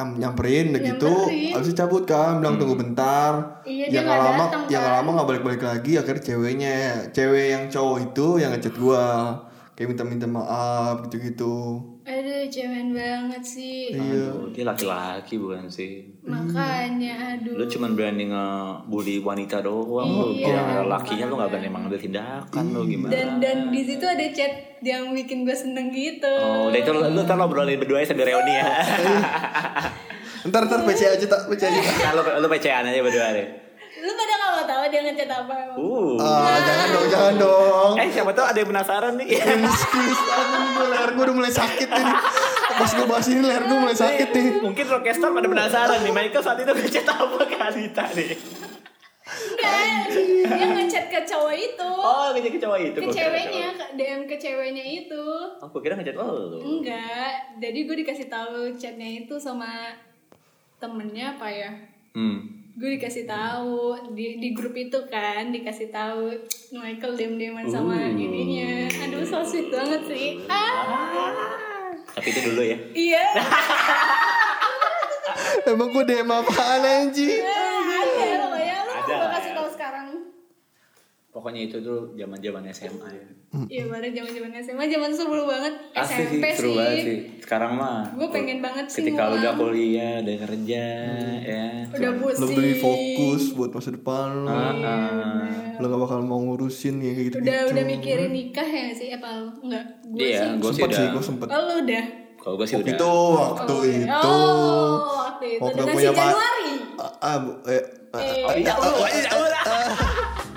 B: Am- nyamperin udah gitu
D: Nyamperin. Hmm.
B: habis itu cabut kan bilang tunggu bentar
D: Iya, dia
B: yang
D: nggak
B: lama
D: datang,
B: yang
D: kan.
B: lama nggak balik-balik lagi akhirnya ceweknya cewek yang cowok itu yang ngechat gua kayak minta-minta maaf gitu-gitu
D: aduh cemen banget sih
C: Iya.
B: Iya.
C: Aduh, Oh, dia laki-laki bukan sih.
D: makanya aduh
C: Lu cuma berani ngebully wanita doang lu. Biar
D: Iya, emang
C: lakinya lu gak berani mengambil tindakan lu
B: Iya.
C: gimana.
D: dan dan di situ ada chat yang bikin gue seneng gitu
C: Oh, udah itu lu, lu ntar lo obrolin berdua ya sambil reuni *laughs* ya.
B: ntar ntar PC aja tak PC
D: *laughs*
B: aja
C: Nah, lu, lu pecean aja berdua deh.
D: lu pada gak mau tahu dia ngechat apa emang
C: Uh.
B: Ah, jangan dong, jangan dong.
C: Eh, siapa tau ada yang penasaran nih.
B: Please, please. Aduh, gue leher gue udah mulai sakit ini. Pas gue bahas ini leher gue mulai sakit nih.
C: Mungkin Rockstar pada penasaran nih Michael saat itu ngechat apa ke Anita nih
D: Enggak, dia ngechat ke cowok itu
C: Oh ngechat ke cowok itu
D: ke
C: gua kira
D: ceweknya ke DM ke ceweknya itu
C: cowok. Oh gue kira ngechat lo
D: Enggak, jadi gue dikasih tahu chatnya itu sama temennya apa ya?
C: Hmm
D: Gue dikasih tahu di di grup itu kan dikasih tahu Michael diem-dieman sama ininya. Aduh, so sweet banget sih. Ah,
C: Tapi itu dulu ya
D: iya.
B: Emang gue DM apaan anjing?
D: Ada iya, pokoknya lu
C: Ada
D: gue
C: lah
D: kasih
C: ya.
D: tahu sekarang.
C: Pokoknya itu dulu zaman zaman SMA ya
D: Iya, baru zaman-zaman SMA, zaman seru banget.
C: Asli sih
D: SMP
C: seru banget sih
D: sih.
C: Sekarang mah
D: Gue pengen banget sih
C: Ketika lu udah
D: ngulang. Hmm.
C: kuliah Udah kerja ya
D: udah
B: Lo
D: pusing.
B: beli fokus buat masa depan lo.
C: Ah, ah.
B: Lo gak bakal mau ngurusin ya kayak gitu.
D: Udah udah mikirin nikah ya nggak sih? Apa lu? Enggak. Gue
C: Iya
D: sih.
C: gue sih
B: Sempet sih,
C: udah
B: gue sempet.
D: Oh, lu udah.
C: Kalau gue sih
B: Waktu
C: udah
B: itu, waktu
D: Oh,
B: itu.
D: Oh, waktu itu.
B: Waktu
D: Dengan si
B: punya ma-
D: Januari.
B: Ah, ah, bu- eh, ah,
D: Eh,
B: ah,
C: Jauh, jauh lah.
B: ah,